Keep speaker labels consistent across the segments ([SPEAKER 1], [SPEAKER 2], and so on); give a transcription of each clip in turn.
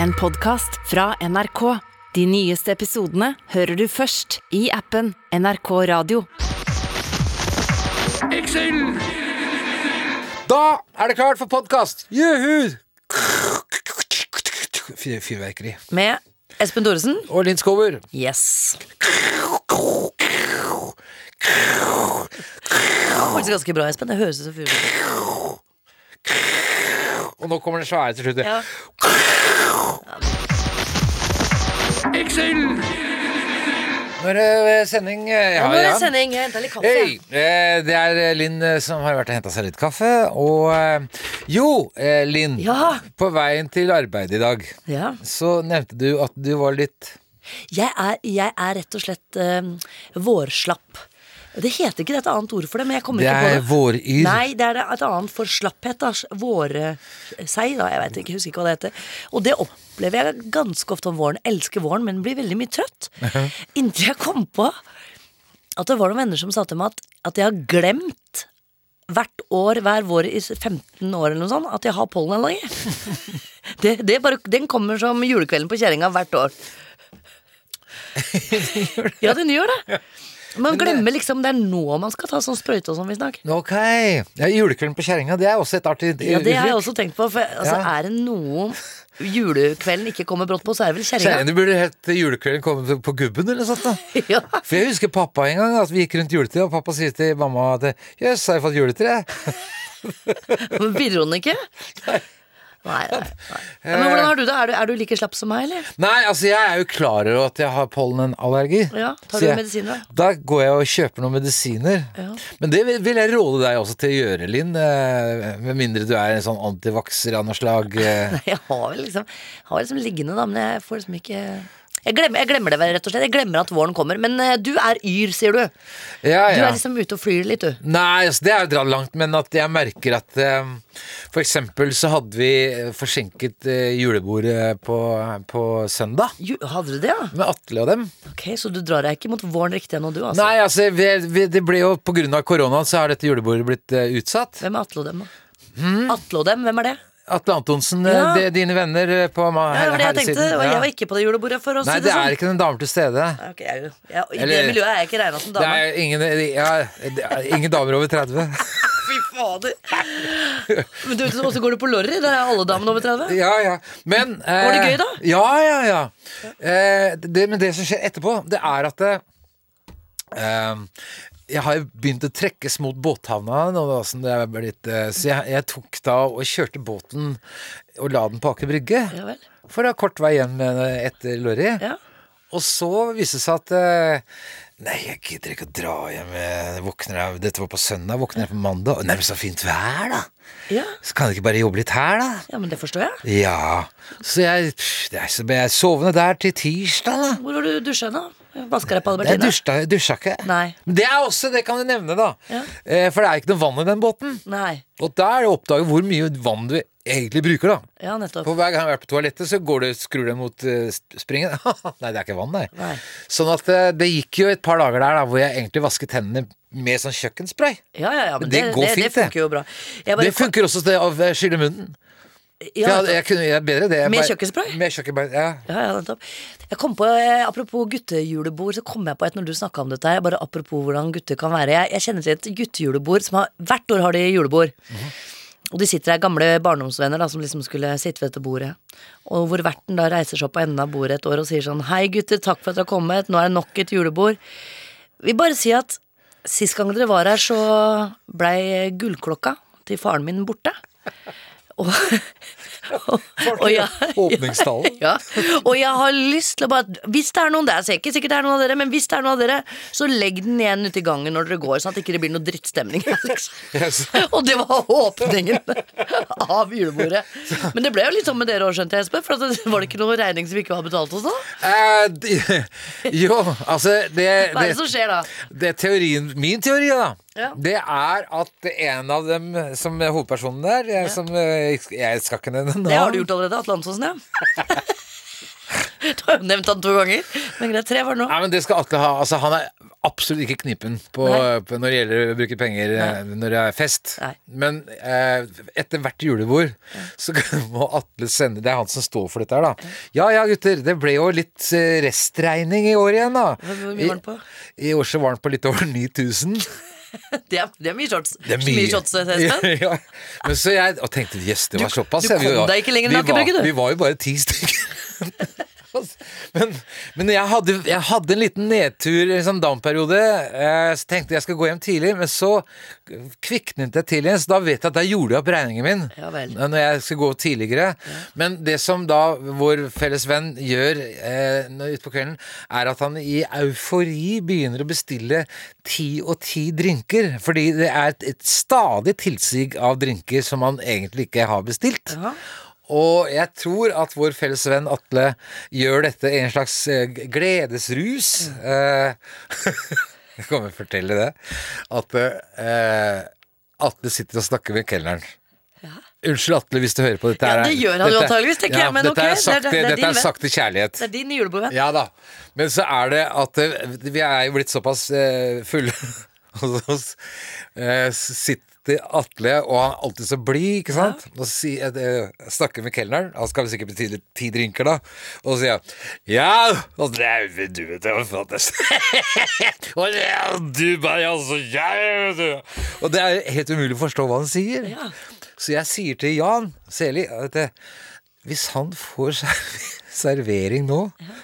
[SPEAKER 1] En podcast fra NRK. De nyeste episodene hører du først i appen NRK Radio.
[SPEAKER 2] Da er det klart for podkast! Juhu! Fyr- Fyrverkeri.
[SPEAKER 3] med Espen Thoresen.
[SPEAKER 2] Og Linn Skåber.
[SPEAKER 3] Yes. Faktisk ganske bra, Espen. Det høres ut som fyrverkeri.
[SPEAKER 2] Og nå kommer den svære til slutt.
[SPEAKER 3] Ja.
[SPEAKER 2] Nå er det sending. eh, Ja,
[SPEAKER 3] Nå er det
[SPEAKER 2] ja.
[SPEAKER 3] sending. Jeg henta litt kaffe.
[SPEAKER 2] Hei, eh, det er eh, Linn eh, som har vært og henta seg litt kaffe. Og eh, jo, eh, Linn.
[SPEAKER 3] Ja.
[SPEAKER 2] På veien til arbeidet i dag
[SPEAKER 3] Ja.
[SPEAKER 2] så nevnte du at du var litt
[SPEAKER 3] Jeg, er, jeg er rett og slett eh, vårslapp. Det heter ikke det, et annet ord for det, men jeg kommer
[SPEAKER 2] Det
[SPEAKER 3] ikke på
[SPEAKER 2] er
[SPEAKER 3] det.
[SPEAKER 2] våryr.
[SPEAKER 3] Nei, det er det- et annet for slapphet. da. Vårsei, da. Jeg vet ikke, jeg husker ikke hva det heter. Og det opplever jeg ganske ofte om våren. Elsker våren, men blir veldig mye trøtt. Inntil jeg kom på at det var noen venner som sa til meg at, at jeg har glemt hvert år, hver vår i 15 år eller noe sånt, at jeg har pollenallergi. Det, det er bare, den kommer som julekvelden på kjerringa hvert år. Ja, den gjør det. Man glemmer liksom det er nå man skal ta sånn sprøyte og sånn, visstnok.
[SPEAKER 2] Ok. Ja, julekvelden på kjerringa, det er også et artig
[SPEAKER 3] Ja, det har
[SPEAKER 2] uttrykk.
[SPEAKER 3] jeg også tenkt på. For altså,
[SPEAKER 2] Ja.
[SPEAKER 3] Er det noe julekvelden ikke kommer brått på, så er det vel
[SPEAKER 2] Kjerringa
[SPEAKER 3] kjerringa.
[SPEAKER 2] det burde hett eh, 'Julekvelden kommer på- på gubben' eller noe sånt. da
[SPEAKER 3] Ja.
[SPEAKER 2] For jeg husker pappa en gang, at vi gikk rundt juletida, og pappa sier til mamma at jøss, har jeg fått juletre?
[SPEAKER 3] Men bidro den ikke? Nei, nei, nei. Ja, Men hvordan har du det? Er du, er du like slapp som meg, eller?
[SPEAKER 2] Nei, altså jeg er jo klar over at jeg har pollenallergi.
[SPEAKER 3] Ja, tar
[SPEAKER 2] Så
[SPEAKER 3] du
[SPEAKER 2] jeg-
[SPEAKER 3] medisiner,
[SPEAKER 2] Da går jeg og kjøper noen medisiner.
[SPEAKER 3] Ja.
[SPEAKER 2] Men det vil- vil jeg råde deg også til å gjøre, Linn. eh, Med mindre du er en sånn antivakser av noe slag. eh.
[SPEAKER 3] Jeg har vel liksom, har liksom liggende, da, men jeg får liksom ikke jeg glemmer, jeg glemmer det vel, rett og slett. Jeg glemmer at våren kommer. Men eh, du er yr, sier du.
[SPEAKER 2] Ja,
[SPEAKER 3] Du
[SPEAKER 2] ja.
[SPEAKER 3] er liksom ute og flyr litt, du.
[SPEAKER 2] Nei, altså, det er å dra det langt, men at jeg merker at eh, For eksempel så hadde vi eh, forsinket eh, julebordet på, på søndag
[SPEAKER 3] Ju- Hadde du det, ja?
[SPEAKER 2] med Atle og dem.
[SPEAKER 3] Ok, Så du drar deg ikke mot våren riktig ennå, du, altså?
[SPEAKER 2] Nei, altså, vi, vi, det ble jo på grunn av koronaen så har dette julebordet blitt eh, utsatt.
[SPEAKER 3] Hvem er Atle og dem, da?
[SPEAKER 2] Hmm?
[SPEAKER 3] Atle og dem, hvem er det?
[SPEAKER 2] Atle Antonsen, eh,
[SPEAKER 3] Ja.
[SPEAKER 2] de, dine venner eh, på ma-
[SPEAKER 3] Ja, det var det jeg tenkte.
[SPEAKER 2] herresiden.
[SPEAKER 3] Og
[SPEAKER 2] ja.
[SPEAKER 3] jeg var ikke på det julebordet, for å
[SPEAKER 2] Nei,
[SPEAKER 3] si
[SPEAKER 2] det
[SPEAKER 3] det sånn.
[SPEAKER 2] er ikke noen damer til stede.
[SPEAKER 3] Ok, jeg, er jo- jeg, I
[SPEAKER 2] Eller-
[SPEAKER 3] det miljøet er jeg ikke regna som
[SPEAKER 2] Det
[SPEAKER 3] dame.
[SPEAKER 2] er ingen, ja, det er ingen damer over 30.
[SPEAKER 3] Fy fader! Men du, Og så går du på Lorry, der er alle damene over 30.
[SPEAKER 2] Ja, ja. Men eh,
[SPEAKER 3] Var det gøy da?
[SPEAKER 2] Ja, ja, ja. Eh, det, men det som skjer etterpå, det er at eh, eh, jeg har jo begynt å trekkes mot båthavna nå, da, som det er blitt, eh, så jeg, jeg tok da og kjørte båten og la den på Aker Brygge.
[SPEAKER 3] Ja vel.
[SPEAKER 2] For det er kort vei igjen med, etter Lorry.
[SPEAKER 3] Ja.
[SPEAKER 2] Og så viste det seg at eh, Nei, jeg gidder ikke å dra hjem. Jeg våkner av, dette var på søndag, våkner jeg på mandag. Nei, men så fint vær, da!
[SPEAKER 3] Ja.
[SPEAKER 2] Så kan jeg ikke bare jobbe litt her, da?
[SPEAKER 3] ja, men det forstår jeg.
[SPEAKER 2] Ja. Så jeg, pff, det er så, ble jeg sovende der til tirsdag, da.
[SPEAKER 3] Hvor var du dusja nå? Vaska deg på
[SPEAKER 2] Jeg
[SPEAKER 3] Albertine?
[SPEAKER 2] dusja, jeg dusja ikke.
[SPEAKER 3] Nei.
[SPEAKER 2] Men det er også, det kan du nevne, da.
[SPEAKER 3] Ja.
[SPEAKER 2] Eh, For det er ikke noe vann i den båten.
[SPEAKER 3] Nei.
[SPEAKER 2] Og da er det å oppdage hvor mye vann du egentlig bruker, da.
[SPEAKER 3] Ja, nettopp.
[SPEAKER 2] For hver gang jeg har vært på toalettet, så går det, skrur det mot eh, sp- springen. nei, det er ikke vann, nei.
[SPEAKER 3] Nei.
[SPEAKER 2] Sånn at eh, det gikk jo et par dager der da, hvor jeg egentlig vasket hendene med sånn kjøkkenspray.
[SPEAKER 3] Ja, ja, ja, men
[SPEAKER 2] Men det
[SPEAKER 3] det,
[SPEAKER 2] går
[SPEAKER 3] det, det
[SPEAKER 2] fint, det.
[SPEAKER 3] funker jo bra. Jeg bare-
[SPEAKER 2] Det funker også til å skylle munnen.
[SPEAKER 3] Ja,
[SPEAKER 2] For jeg, hadde-
[SPEAKER 3] nettopp.
[SPEAKER 2] jeg kunne gjøre bedre det. Jeg
[SPEAKER 3] Med
[SPEAKER 2] bare-
[SPEAKER 3] kjøkkenspray?
[SPEAKER 2] Med kjøkkenspray, ja.
[SPEAKER 3] Ja, ja, nettopp. Jeg kom på, eh, Apropos guttejulebord, så kom jeg på et når du snakka om dette. her Bare apropos hvordan gutter kan være. Jeg, jeg kjenner til et guttejulebord som har, hvert år har de julebord. Og de sitter der, gamle barndomsvenner da, som liksom skulle sitte ved dette bordet. Og hvor verten da reiser seg opp på enden av bordet et år og sier sånn Hei gutter, takk for at dere har kommet. Nå er det nok et julebord. Vi bare sier at sist gang dere var her, så blei gullklokka til faren min borte. Og, og, og jeg-
[SPEAKER 2] Åpningstallet.
[SPEAKER 3] ja. Og jeg har lyst til å bare Hvis det er noen der, så er det ikke sikkert det er noen av dere, men hvis det er noen av dere, så legg den igjen ute i gangen når dere går, sånn at det ikke blir noe drittstemning. her, liksom.
[SPEAKER 2] Yes.
[SPEAKER 3] Og det var åpningen av julebordet. Men det ble jo litt sånn med dere òg, skjønte jeg, Espen. For at det var det ikke noe regning som ikke var betalt og sånn?
[SPEAKER 2] Eh, d- jo, altså det,
[SPEAKER 3] Hva er det
[SPEAKER 2] det,
[SPEAKER 3] som skjer da?
[SPEAKER 2] det er teorien, Min teori, da,
[SPEAKER 3] Ja.
[SPEAKER 2] det er at en av dem som er hovedpersonen der Jeg, som, eh, jeg skal ikke nevne navn.
[SPEAKER 3] Det har du gjort allerede, Atle Antonsen, ja. Du har jo nevnt han to ganger. Men greit, tre var det nå.
[SPEAKER 2] Nei, men det skal Atle ha. Altså, han er absolutt ikke knipen på,
[SPEAKER 3] Nei.
[SPEAKER 2] på når det gjelder å bruke penger eh, når det er fest.
[SPEAKER 3] Nei.
[SPEAKER 2] Men eh, etter hvert julebord så kan- må Atle sende Det er han som står for dette her, da. Ja ja, gutter. Det ble jo litt eh, restregning i år igjen, da.
[SPEAKER 3] Hvor hvor mye var den på?
[SPEAKER 2] I, I år så var den på litt over 9000.
[SPEAKER 3] Det er, det er mye shots.
[SPEAKER 2] Det er
[SPEAKER 3] Så mye shots, eh, Espen.
[SPEAKER 2] ja, ja. Men så jeg og tenkte jøss, det
[SPEAKER 3] Du-
[SPEAKER 2] var såpass.
[SPEAKER 3] du
[SPEAKER 2] ja, vi
[SPEAKER 3] kom
[SPEAKER 2] var-
[SPEAKER 3] deg ikke lenger enn
[SPEAKER 2] vi var-
[SPEAKER 3] Akebrygge, du.
[SPEAKER 2] Vi var jo bare ti stykker. Men, men jeg, hadde, jeg hadde en liten nedtur, en sånn down-periode. Eh, så tenkte jeg jeg skal gå hjem tidlig, men så kviknet jeg til igjen. Så da vet jeg at da gjorde jeg opp regningen min.
[SPEAKER 3] Ja vel.
[SPEAKER 2] Når jeg skal gå tidligere. Men det som da vår felles venn gjør eh, når- utpå kvelden, er at han i eufori begynner å bestille ti og ti drinker. Fordi det er et, et stadig tilsig av drinker som han egentlig ikke har bestilt.
[SPEAKER 3] Ja.
[SPEAKER 2] Og jeg tror at vår felles venn Atle gjør dette i en slags eh, g- gledesrus. Eh, jeg kommer til å fortelle det. At eh, Atle sitter og snakker med kelneren. Unnskyld, Atle, hvis du hører på dette.
[SPEAKER 3] Ja,
[SPEAKER 2] her er-
[SPEAKER 3] det gjør han jo
[SPEAKER 2] dette-
[SPEAKER 3] antageligvis, tenker jeg, men
[SPEAKER 2] dette
[SPEAKER 3] ok,
[SPEAKER 2] Er sagt,
[SPEAKER 3] det er- det er
[SPEAKER 2] dette
[SPEAKER 3] din
[SPEAKER 2] er
[SPEAKER 3] venn.
[SPEAKER 2] sagt i kjærlighet.
[SPEAKER 3] Det er din julebordvenn.
[SPEAKER 2] Ja da. Men så er det at eh, vi er jo blitt såpass eh, fulle hos oss. Eh, så sitter Atle, og han er alltid så blid, ikke sant? Og så sier- eh, snakker med kelneren, han skal vel sikkert betale ti drinker, da. Og så sier han Ja! Og det er jo du, vet du. hva faen det er». Og det er du bare altså, jeg, vet du. Og det er helt umulig å forstå hva han sier.
[SPEAKER 3] Ja.
[SPEAKER 2] Så jeg sier til Jan Seli at eh, hvis han får serv- servering nå,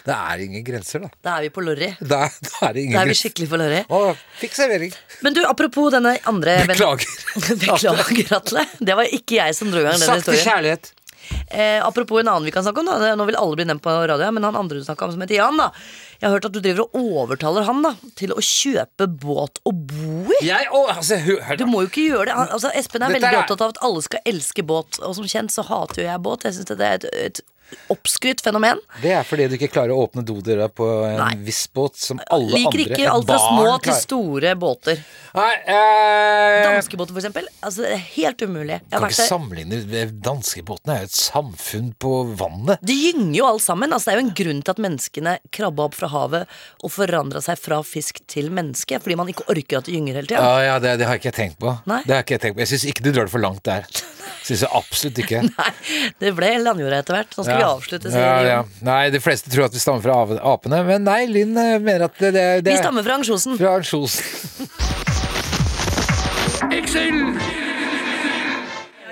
[SPEAKER 2] da er det ingen grenser, da.
[SPEAKER 3] Da er vi på Lorry.
[SPEAKER 2] Da, er- da er det ingen
[SPEAKER 3] Da er vi
[SPEAKER 2] grenser.
[SPEAKER 3] skikkelig på Lorry.
[SPEAKER 2] Å, fikk servering.
[SPEAKER 3] Men du, apropos denne andre vennen-
[SPEAKER 2] Beklager.
[SPEAKER 3] Beklager, Atle. Det var ikke jeg som dro i gang den
[SPEAKER 2] Sakte
[SPEAKER 3] historien.
[SPEAKER 2] kjærlighet.
[SPEAKER 3] Eh, apropos en annen vi kan snakke om, da. Det- Nå vil alle bli nevnt på radio, her, men han andre du snakka om, som heter Jan, da. Jeg har hørt at du driver og overtaler han da til å kjøpe båt å bo i.
[SPEAKER 2] Jeg å, altså, hør, hør
[SPEAKER 3] Du
[SPEAKER 2] da.
[SPEAKER 3] må jo ikke gjøre det. Han, altså, Espen er
[SPEAKER 2] Dette er-
[SPEAKER 3] veldig opptatt av at alle skal elske båt, og som kjent så hater jo jeg båt. Jeg syns det er et, et oppskrytt fenomen.
[SPEAKER 2] Det er fordi du ikke klarer å åpne dodøra på
[SPEAKER 3] Nei.
[SPEAKER 2] en viss båt som alle
[SPEAKER 3] Liker
[SPEAKER 2] andre
[SPEAKER 3] ikke alt fra
[SPEAKER 2] barn
[SPEAKER 3] små til
[SPEAKER 2] klarer.
[SPEAKER 3] store båter.
[SPEAKER 2] Nei, eh,
[SPEAKER 3] Danskebåter, for eksempel. Altså, det er helt umulig. Jeg har
[SPEAKER 2] kan
[SPEAKER 3] vært
[SPEAKER 2] ikke
[SPEAKER 3] der.
[SPEAKER 2] sammenligne Danskebåten er jo et samfunn på vannet.
[SPEAKER 3] Det gynger jo alt sammen. Altså, det er jo en grunn til at menneskene krabba opp fra havet og forandra seg fra fisk til menneske. Fordi man ikke orker at det gynger hele tida.
[SPEAKER 2] Ja, ja, det, det har ikke jeg tenkt på.
[SPEAKER 3] Nei.
[SPEAKER 2] Det har ikke Jeg tenkt på Jeg syns ikke du drar det for langt der. Syns jeg absolutt ikke.
[SPEAKER 3] Nei, Det ble landjorda etter hvert. Nå skal vi
[SPEAKER 2] Ja.
[SPEAKER 3] avslutte.
[SPEAKER 2] Ja,
[SPEAKER 3] serien.
[SPEAKER 2] ja. Nei, de fleste tror at vi stammer fra ave- apene, men nei, Linn eh, mener at det, det, det
[SPEAKER 3] Vi
[SPEAKER 2] er
[SPEAKER 3] stammer fra Ansjosen.
[SPEAKER 2] fra Kjosen.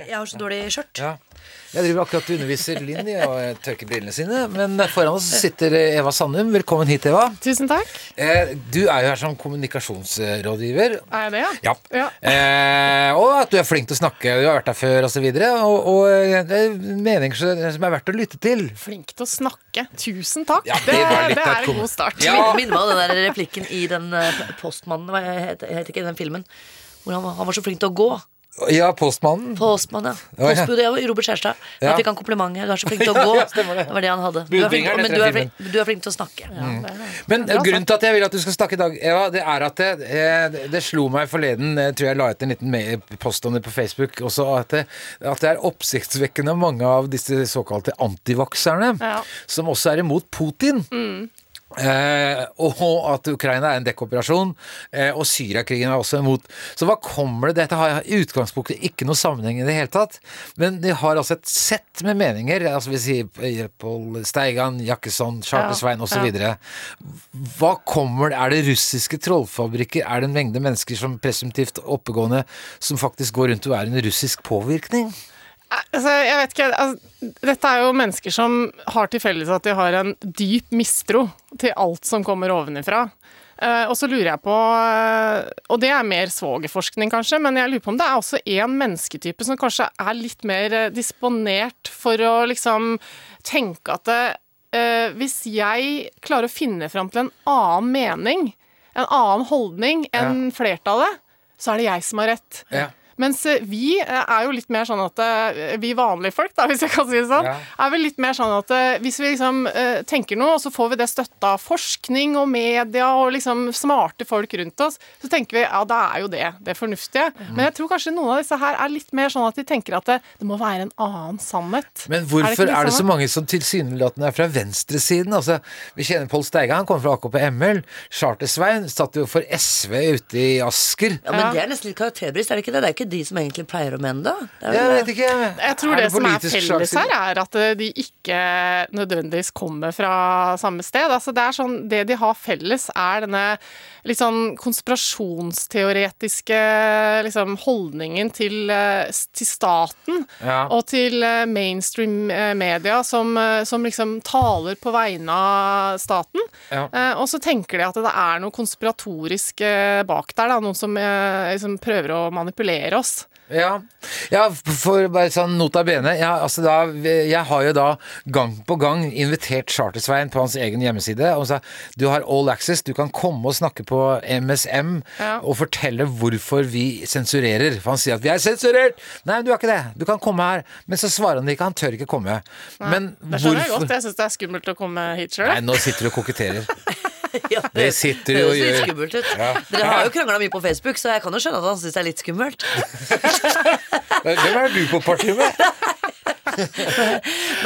[SPEAKER 3] Jeg har så dårlig skjørt.
[SPEAKER 2] Ja. Jeg driver akkurat og underviser Linn i å eh, tørke brillene sine, men foran oss sitter eh, Eva Sandum. Velkommen hit, Eva.
[SPEAKER 4] Tusen takk.
[SPEAKER 2] Eh, Du er jo her som kommunikasjonsrådgiver.
[SPEAKER 4] Er jeg det,
[SPEAKER 2] Ja. Eh, og at du er flink til å snakke, du har vært der før osv. Og, så videre, og, og eh, det er meninger som som er verdt å lytte til.
[SPEAKER 4] Flink til å snakke. Tusen takk.
[SPEAKER 2] Ja, det
[SPEAKER 4] det,
[SPEAKER 2] var litt av
[SPEAKER 4] det
[SPEAKER 2] et
[SPEAKER 4] er
[SPEAKER 2] kom-
[SPEAKER 4] en god start.
[SPEAKER 2] Ja.
[SPEAKER 3] Min- Minner meg om den der replikken i den eh, postmannen Hva heter, heter ikke den filmen? Hvor han, var- han var så flink til å gå.
[SPEAKER 2] Ja, postmannen.
[SPEAKER 3] Postmann, ja.
[SPEAKER 2] ja.
[SPEAKER 3] Postbud, ja. Robert Kjærstad. Da
[SPEAKER 2] Ja.
[SPEAKER 3] fikk han kompliment. Du er så flink til å gå.
[SPEAKER 2] ja,
[SPEAKER 3] det.
[SPEAKER 2] stemmer det.
[SPEAKER 3] var det han hadde. Du er flink,
[SPEAKER 2] Budbringeren
[SPEAKER 3] men
[SPEAKER 2] heter
[SPEAKER 3] du er
[SPEAKER 2] filmen. Mm.
[SPEAKER 3] flink, du er flink til å snakke.
[SPEAKER 2] Men
[SPEAKER 4] Bra
[SPEAKER 2] grunnen til at jeg vil at du skal snakke i dag, Eva, det er at det, eh, det, det slo meg forleden eh, tror jeg la ut en liten me- post om det på Facebook også, at det, at det er oppsiktsvekkende mange av disse såkalte antivakserne
[SPEAKER 4] Ja.
[SPEAKER 2] som også er imot Putin. Eh, og at Ukraina er en dekkoperasjon, eh, og Syriakrigen er også imot. Så hva kommer det Dette har i utgangspunktet ikke noe sammenheng i det hele tatt. Men de har altså et sett med meninger, altså vi sier eh, Pål Steigan, Jakkesson, Charter-Svein
[SPEAKER 4] Ja,
[SPEAKER 2] osv. Hva kommer det Er det russiske trollfabrikker? Er det en mengde mennesker som presumptivt oppegående som faktisk går rundt og er en russisk påvirkning?
[SPEAKER 4] Altså, jeg vet ikke, altså, dette er jo mennesker som har til felles at de har en dyp mistro til alt som kommer ovenifra. Eh, og så lurer jeg på, eh, og det er mer svogerforskning kanskje, men jeg lurer på om det er også en mennesketype som kanskje er litt mer eh, disponert for å liksom tenke at det, eh, hvis jeg klarer å finne fram til en annen mening, en annen holdning enn flertallet, så er det jeg som har rett.
[SPEAKER 2] Ja.
[SPEAKER 4] Mens eh, vi eh, er jo litt mer sånn at eh, Vi vanlige folk, da, hvis jeg kan si det sånn,
[SPEAKER 2] Ja.
[SPEAKER 4] er vel litt mer sånn at eh, hvis vi liksom eh, tenker noe, og så får vi det støtta av forskning og media og liksom smarte folk rundt oss, så tenker vi ja, da er jo det det fornuftige.
[SPEAKER 2] Mhm.
[SPEAKER 4] Men jeg tror kanskje noen av disse her er litt mer sånn at de tenker at det, det må være en annen sannhet.
[SPEAKER 2] Men hvorfor er det, så
[SPEAKER 4] mange
[SPEAKER 2] mange som tilsynelatende er fra venstresiden? Altså, vi kjenner Pål Steiga, han kommer fra AKP ML. Charter-Svein satt jo for SV ute i Asker.
[SPEAKER 3] Ja, Men det er nesten litt karakterbrist, er det ikke det? Det er ikke de som egentlig pleier å mene det. det er vel
[SPEAKER 2] Jeg
[SPEAKER 3] det.
[SPEAKER 2] vet ikke.
[SPEAKER 4] Jeg tror det, som er
[SPEAKER 2] politisk
[SPEAKER 4] felles
[SPEAKER 2] slagside?
[SPEAKER 4] her, er at eh, de ikke nødvendigvis kommer fra samme sted. Altså, det, er sånn, det de har felles, er denne litt sånn konspirasjonsteoretiske liksom, holdningen til, eh, s- til staten
[SPEAKER 2] Ja.
[SPEAKER 4] og til eh, mainstream eh, media som, eh, som liksom taler på vegne av staten.
[SPEAKER 2] Ja.
[SPEAKER 4] Eh, og så tenker de at det er noe konspiratorisk eh, bak der, da, noen som eh, liksom prøver å manipulere oss.
[SPEAKER 2] Ja. ja, for bare sånn nota bene ja, altså da, Jeg har jo da gang på gang invitert Charter-Svein på hans egen hjemmeside og sa du har all access, du kan komme og snakke på MSM
[SPEAKER 4] Ja.
[SPEAKER 2] og fortelle hvorfor vi sensurerer. For han sier at vi er sensurert! Nei, du er ikke det. Du kan komme her. Men så svarer han ikke, han tør ikke komme. Men
[SPEAKER 4] Det skjønner jeg godt. Jeg syns det er skummelt å komme hit
[SPEAKER 2] Nei,
[SPEAKER 4] sjøl.
[SPEAKER 2] nå sitter du og koketterer.
[SPEAKER 3] Ja,
[SPEAKER 2] Det sitter jo
[SPEAKER 3] høres
[SPEAKER 2] og
[SPEAKER 3] litt
[SPEAKER 2] gjør.
[SPEAKER 3] skummelt ut.
[SPEAKER 2] Ja.
[SPEAKER 3] Dere har jo krangla mye på Facebook, så jeg kan jo skjønne at han syns det er litt skummelt.
[SPEAKER 2] Hvem er du på parti med?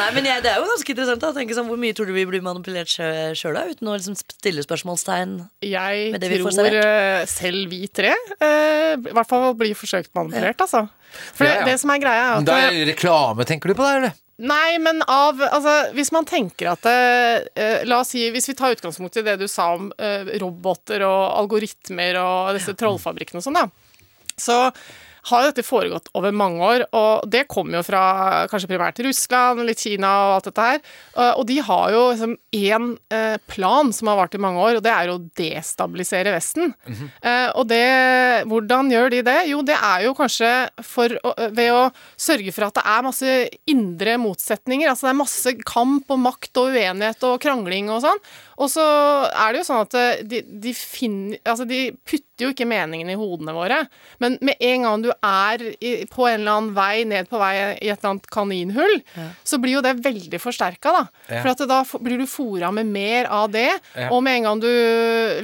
[SPEAKER 3] Nei, men jeg, Det er jo ganske interessant da, å tenke sånn, Hvor mye tror du vi blir manipulert sjøl, da? Uten å liksom stille spørsmålstegn.
[SPEAKER 4] Jeg
[SPEAKER 3] Men det vi får
[SPEAKER 4] tror eh, selv vi tre eh, i hvert fall blir forsøkt manipulert, altså. For det,
[SPEAKER 2] Ja, ja.
[SPEAKER 4] det som er greia, er at
[SPEAKER 2] Det er reklame, tenker du på da, eller?
[SPEAKER 4] Nei, men av Altså, hvis man tenker at eh, La oss si, hvis vi tar utgangspunkt i det du sa om eh, roboter og algoritmer og disse trollfabrikkene og sånn, da. Så har jo dette foregått over mange år, og det kommer jo fra kanskje primært Russland, litt Kina og alt dette her. Eh, Og de har jo liksom én eh, plan som har vart i mange år, og det er jo å destabilisere Vesten. Eh, Og det Hvordan gjør de det? Jo, det er jo kanskje for, å- ved å sørge for at det er masse indre motsetninger. Altså det er masse kamp og makt og uenighet og krangling og sånn. Og så er det jo sånn at eh, de, de finner Altså de putter jo ikke meningene i hodene våre, men med en gang du er i, på en eller annen vei ned på vei i et eller annet kaninhull, så blir jo det veldig forsterka, da.
[SPEAKER 2] Ja.
[SPEAKER 4] For at da f- blir du fora med mer av det,
[SPEAKER 2] Ja.
[SPEAKER 4] og med en gang du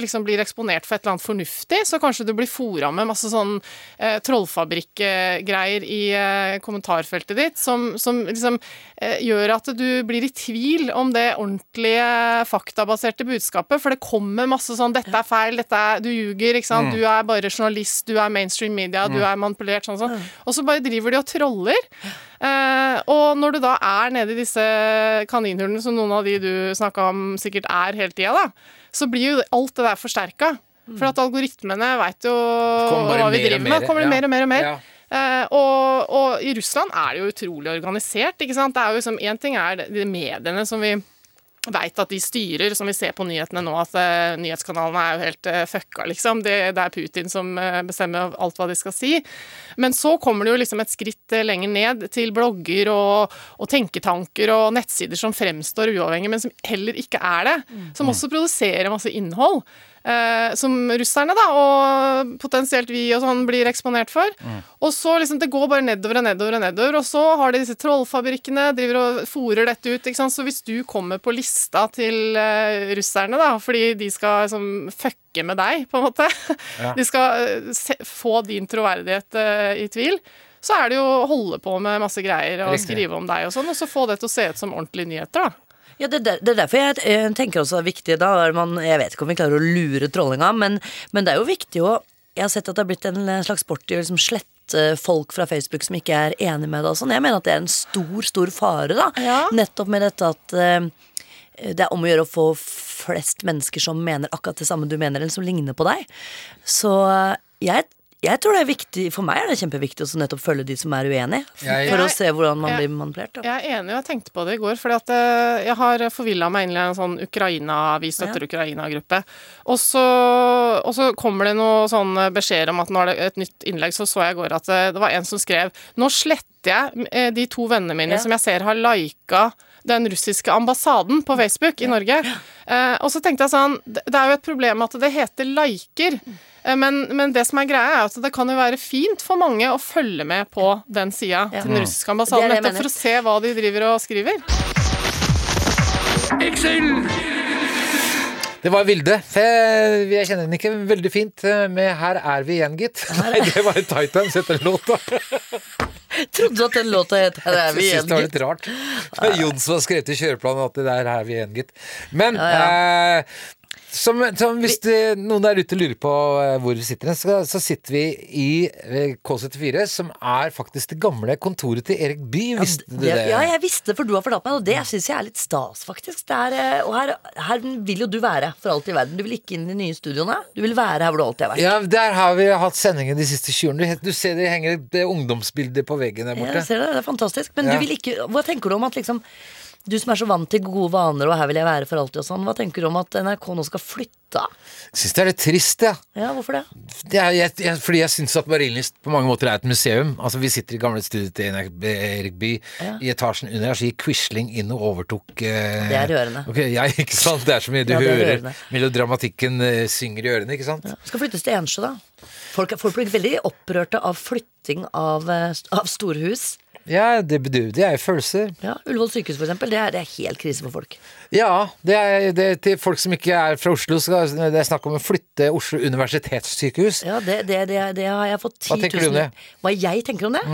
[SPEAKER 4] liksom blir eksponert for et eller annet fornuftig, så kanskje du blir fora med masse sånn eh, trollfabrikkgreier i eh, kommentarfeltet ditt, som, som liksom eh, gjør at du blir i tvil om det ordentlige faktabaserte budskapet, for det kommer masse sånn 'dette er feil', dette er, 'du ljuger', ikke
[SPEAKER 2] Mm.
[SPEAKER 4] sant? 'du er bare journalist', 'du er mainstream media', 'du er manipulert', sånn sånn.
[SPEAKER 2] Mm.
[SPEAKER 4] Og så bare driver de og troller. Eh, og når du da er nede i disse kaninhullene, som noen av de du snakka om sikkert er hele tida, da, så blir jo alt det der forsterka. For at algoritmene veit jo
[SPEAKER 2] Mm. kommer bare
[SPEAKER 4] hva vi
[SPEAKER 2] mer og
[SPEAKER 4] driver
[SPEAKER 2] mer,
[SPEAKER 4] med. Kommer det
[SPEAKER 2] ja.
[SPEAKER 4] mer og mer og mer.
[SPEAKER 2] Ja.
[SPEAKER 4] Eh, og, og i Russland er det jo utrolig organisert. ikke sant? Det er jo liksom, Én ting er de mediene som vi veit at de styrer, som vi ser på nyhetene nå, at eh, nyhetskanalene er jo helt eh, fucka, liksom. Det, det er Putin som eh, bestemmer alt hva de skal si. Men så kommer det jo liksom et skritt eh, lenger ned til blogger og, og tenketanker og nettsider som fremstår uavhengig, men som heller ikke er det. Som også produserer masse innhold. eh, som russerne, da, og potensielt vi og sånn, blir eksponert for.
[SPEAKER 2] Mm.
[SPEAKER 4] Og så liksom, det går bare nedover og nedover og nedover. Og så har de disse trollfabrikkene, driver og fòrer dette ut. Ikke sant? Så hvis du kommer på lista til eh, russerne, da, fordi de skal liksom fucke med deg, på en måte
[SPEAKER 2] Ja.
[SPEAKER 4] De skal eh, se, få din troverdighet eh, i tvil. Så er det jo å holde på med masse greier og
[SPEAKER 2] Riktig.
[SPEAKER 4] skrive om deg og sånn, og så få det til å se ut som ordentlige nyheter, da.
[SPEAKER 3] Ja, det, er der- det er derfor jeg eh, tenker også det er viktig da er man, Jeg vet ikke om vi klarer å lure trollinga, men, men det er jo viktig å Jeg har sett at det har blitt en eh, slags sport i å liksom slette folk fra Facebook som ikke er enig med deg og sånn. Jeg mener at det er en stor, stor fare, da.
[SPEAKER 4] Ja.
[SPEAKER 3] Nettopp med dette at eh, det er om å gjøre å få flest mennesker som mener akkurat det samme du mener, eller som ligner på deg. Så jeg, jeg tror det er viktig For meg er det kjempeviktig å så nettopp følge de som er uenige, for,
[SPEAKER 2] Jeg-
[SPEAKER 3] for å se hvordan man
[SPEAKER 4] Jeg-
[SPEAKER 3] blir manipulert. Da.
[SPEAKER 4] Jeg er enig, og jeg tenkte på det i går. fordi at eh, jeg har forvilla meg inn i en sånn Ukraina, vi støtter Ukraina-gruppe. Og, så- og så kommer det noen sånne beskjeder om at nå er det et nytt innlegg. Så så jeg i går at eh, det var en som skrev Nå sletter jeg eh, de to vennene mine
[SPEAKER 3] Ja.
[SPEAKER 4] som jeg ser har lika den russiske ambassaden på Facebook i Norge. Eh, og så tenkte jeg sånn Det det er jo et problem at det heter liker. eh, Men, men det som er greia er at det kan jo være fint for mange å følge med på den sida til den russiske ambassaden,
[SPEAKER 3] Det er det jeg
[SPEAKER 4] nettopp for å se hva de driver og skriver.
[SPEAKER 2] Det var Vilde. Eh, Jeg kjenner den ikke veldig fint eh, med 'Her er vi igjen', gitt. Nei, det var en Titans etter låta.
[SPEAKER 3] Trodde du at den låta het Her er
[SPEAKER 2] Jeg
[SPEAKER 3] vi
[SPEAKER 2] synes
[SPEAKER 3] igjen,
[SPEAKER 2] det var
[SPEAKER 3] gitt?
[SPEAKER 2] litt rart. Det er Jon som har skrevet i kjøreplanen at det der er vi igjen, gitt. Men Eh, som, som hvis det, noen der ute lurer på eh, hvor vi sitter, hen, så, så sitter vi i eh, K74, som er faktisk det gamle kontoret til Erik Bye, visste du det?
[SPEAKER 3] Ja, jeg visste det, for du har fortalt meg, og det syns jeg er litt stas, faktisk. Det er, eh, og her, her vil jo du være, for alt i verden. Du vil ikke inn i de nye studioene. Du vil være her hvor du alltid har vært.
[SPEAKER 2] Ja, Der har vi hatt sendingen de siste 20 årene. Du, du ser det henger et eh, ungdomsbilde på veggen der
[SPEAKER 3] Ja,
[SPEAKER 2] borte.
[SPEAKER 3] jeg ser det, det er fantastisk. Men
[SPEAKER 2] Ja.
[SPEAKER 3] du vil ikke Hva tenker du om at liksom du som er så vant til gode vaner, og her vil jeg være for alltid og sånn, hva tenker du om at NRK nå skal flytte?
[SPEAKER 2] Syns det er litt trist, ja.
[SPEAKER 3] Ja, hvorfor det?
[SPEAKER 2] det er, jeg, jeg, fordi jeg syns at Marienlyst på mange måter er et museum. Altså Vi sitter i gamle studiet til Erik Erik Bye. I etasjen under her så gikk Quisling inn og overtok eh,
[SPEAKER 3] Det er rørende.
[SPEAKER 2] Ok, ja, ikke sant? Det er så mye du
[SPEAKER 3] Ja, det er
[SPEAKER 2] hører.
[SPEAKER 3] rørende.
[SPEAKER 2] Melodramatikken eh, synger i ørene, ikke sant?
[SPEAKER 3] Skal flyttes til Ensjø, da. Folk, folk blir veldig opprørte av flytting av, eh, st- av storhus.
[SPEAKER 2] Ja, det, bedu- det er jo følelser.
[SPEAKER 3] Ja, Ullevål sykehus, for eksempel. Det er, det er helt krise for folk.
[SPEAKER 2] Ja, det er, det, til folk som ikke er fra Oslo, så er det snakk om å flytte Oslo universitetssykehus.
[SPEAKER 3] Ja, det, det, det, det har jeg fått 10
[SPEAKER 2] Hva
[SPEAKER 3] 000
[SPEAKER 2] tenker du om det? Mhm.
[SPEAKER 3] Hva jeg tenker om det?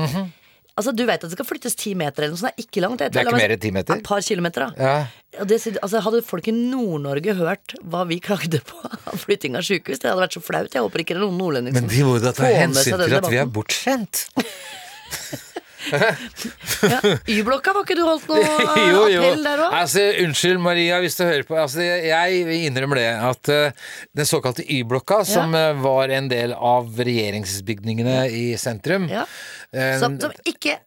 [SPEAKER 3] Altså, Du vet at det skal flyttes ti meter eller noe sånt. Det er ikke langt.
[SPEAKER 2] Det er ikke mer enn 10 meter?
[SPEAKER 3] Et par kilometer, da.
[SPEAKER 2] Ja.
[SPEAKER 3] Og det, sier- altså, hadde folk i Nord-Norge hørt hva vi klagde på av flytting av sykehus, det hadde vært så flaut. Jeg håper ikke det er noen nordlendinger
[SPEAKER 2] Men de må da ta
[SPEAKER 3] får med
[SPEAKER 2] hensyn
[SPEAKER 3] seg den
[SPEAKER 2] til at vi er
[SPEAKER 3] debatten.
[SPEAKER 2] bortskjemt.
[SPEAKER 3] ja. Y-blokka, var ikke du holdt noe
[SPEAKER 2] jo, jo.
[SPEAKER 3] appell der òg?
[SPEAKER 2] Altså, unnskyld, Maria, hvis du hører på. Altså, jeg innrømmer det at eh, den såkalte Y-blokka, som eh, var en del av regjeringsbygningene i sentrum
[SPEAKER 3] Ja.
[SPEAKER 2] eh,
[SPEAKER 3] Som, som ikke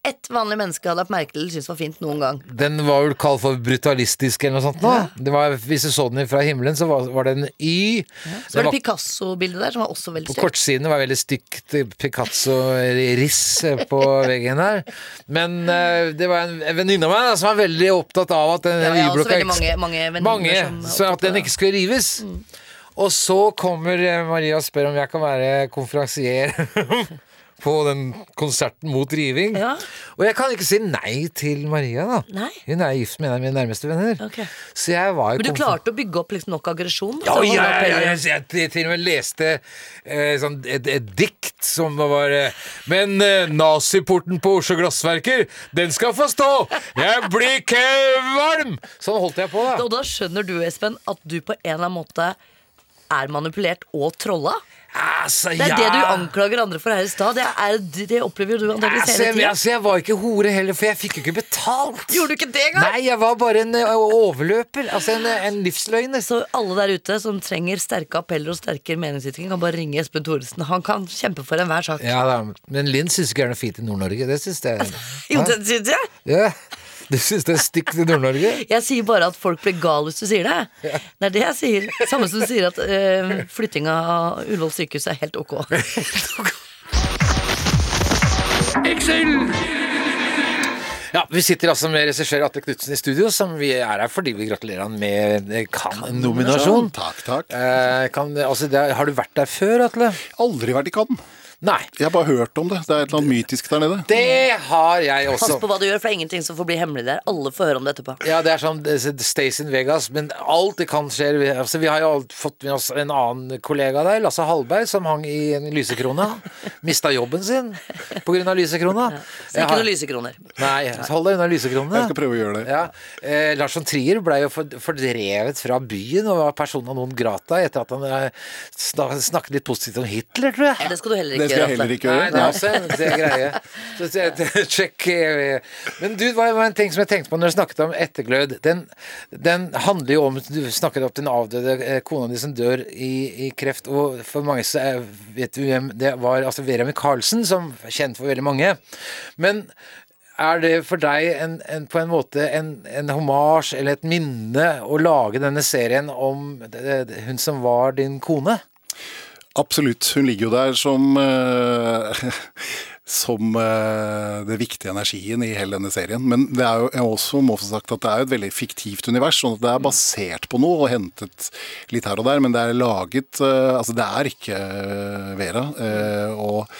[SPEAKER 3] ett vanlig menneske hadde lagt merke til eller syntes var fint noen gang.
[SPEAKER 2] Den var vel kalt for brutalistisk eller noe sånt. nå. Det var, hvis du så den fra himmelen, så var, var det en Y.
[SPEAKER 3] Så var det
[SPEAKER 2] var-
[SPEAKER 3] Picasso-bildet der, som var også veldig
[SPEAKER 2] På
[SPEAKER 3] stygt.
[SPEAKER 2] kortsiden var det veldig stygt eh, Picasso-riss eh, på veggen her. Men eh, det var en en venninne av meg da, som var veldig opptatt av at den
[SPEAKER 3] Ja, jeg har også
[SPEAKER 2] Y-blokka
[SPEAKER 3] veldig mange, mange venner
[SPEAKER 2] Mange,
[SPEAKER 3] som Mm.
[SPEAKER 2] så at den ikke skulle rives. Og så kommer eh, Maria og spør om jeg kan være konferansier på den konserten mot riving.
[SPEAKER 3] Ja.
[SPEAKER 2] Og jeg kan ikke si nei til Maria, da.
[SPEAKER 3] Nei.
[SPEAKER 2] Hun er gift med en av mine nærmeste venner.
[SPEAKER 3] Ok.
[SPEAKER 2] Så jeg var jo
[SPEAKER 3] Men du
[SPEAKER 2] konf-
[SPEAKER 3] klarte å bygge opp liksom nok aggresjon?
[SPEAKER 2] ja,
[SPEAKER 3] til å holde
[SPEAKER 2] ja, ja, ja,
[SPEAKER 3] appellen.
[SPEAKER 2] jeg, jeg, jeg til og med leste eh, sånn, et, et dikt som var eh, Men eh, naziporten på Oslo Glassverker, den skal få stå! Jeg blir ikke varm! Sånn holdt jeg på, da.
[SPEAKER 3] Og da skjønner du, Espen, at du på en eller annen måte er manipulert og trolla?
[SPEAKER 2] Altså,
[SPEAKER 3] Det er det du
[SPEAKER 2] ja.
[SPEAKER 3] anklager andre for her i stad. Det, er- det opplever jo du antakeligvis
[SPEAKER 2] Altså,
[SPEAKER 3] hele
[SPEAKER 2] jeg,
[SPEAKER 3] tida.
[SPEAKER 2] altså, jeg var ikke hore heller, for jeg fikk jo ikke betalt.
[SPEAKER 3] Gjorde du ikke det engang?
[SPEAKER 2] Nei, jeg var bare en eh, overløper. Altså en, eh, en livsløgner.
[SPEAKER 3] Så alle der ute som trenger sterke appeller og sterkere meningsytringer, kan bare ringe Espen Thoresen. Han kan kjempe for enhver sak.
[SPEAKER 2] Ja da, men Linn syns ikke det er noe fint i Nord-Norge. Det syns jeg.
[SPEAKER 3] Jo, det synes jeg.
[SPEAKER 2] Ja. Du syns det er stygt i Nord-Norge?
[SPEAKER 3] Jeg sier bare at folk blir gal hvis du sier det. Det er det jeg sier. Samme som du sier at uh, flyttinga av Ullevål sykehus er helt ok.
[SPEAKER 2] Ja, Vi sitter altså med regissør Atle Knutsen i studio, som vi er her fordi vi gratulerer han med eh, Cannes-nominasjon.
[SPEAKER 5] Takk, takk.
[SPEAKER 2] Eh, kan, altså, det, er- har du vært der før, Atle?
[SPEAKER 5] Aldri vært i Cannes.
[SPEAKER 2] Nei.
[SPEAKER 5] Jeg har bare hørt om det. Det er et eller annet mytisk der nede.
[SPEAKER 2] Det har jeg også.
[SPEAKER 3] Pass på hva du gjør, for det er ingenting som får bli hemmelig der. Alle får høre om det etterpå.
[SPEAKER 2] Ja, det er sånn eh, Stays in Vegas, men alt det kan skje. Vi- Altså, vi har jo alt fått med oss en annen kollega der, Lasse Hallberg, som hang i en lysekrone. Mista jobben sin pga. lysekrona.
[SPEAKER 3] Så ikke noen lysekroner.
[SPEAKER 2] Nei, så hold deg unna
[SPEAKER 5] Jeg skal
[SPEAKER 2] lysekronene.
[SPEAKER 5] prøve å gjøre det.
[SPEAKER 2] Ja. Eh, Lars von Trier ble jo for- fordrevet fra byen og var persona non grata etter at han eh, snak- snakket litt positivt om Hitler, tror jeg.
[SPEAKER 3] Det skal du heller ikke gjøre.
[SPEAKER 5] Det skal jeg heller ikke
[SPEAKER 2] Nei, det er
[SPEAKER 5] gjøre.
[SPEAKER 2] også en det er greie. Så, så, så, sjekk eh, Men du, det var var en ting som jeg tenkte på når du snakket om etterglød. Den, den handler jo om Du snakket om den avdøde eh, kona di som dør i, i kreft. Og for mange så er- vet du hvem det var. Altså Vera Michaelsen, som er kjent for veldig mange. Men er det for deg en, en, på en måte en, en hommage eller et minne å lage denne serien om eh, hun som var din kone?
[SPEAKER 5] Absolutt. Hun ligger jo der som eh, som eh, det viktige energien i hele denne serien. Men det er jo jeg også må få sagt at det er jo et veldig fiktivt univers, sånn at det er basert på noe og hentet litt her og der, men det er laget eh, Altså, det er ikke eh, Vera. eh, og,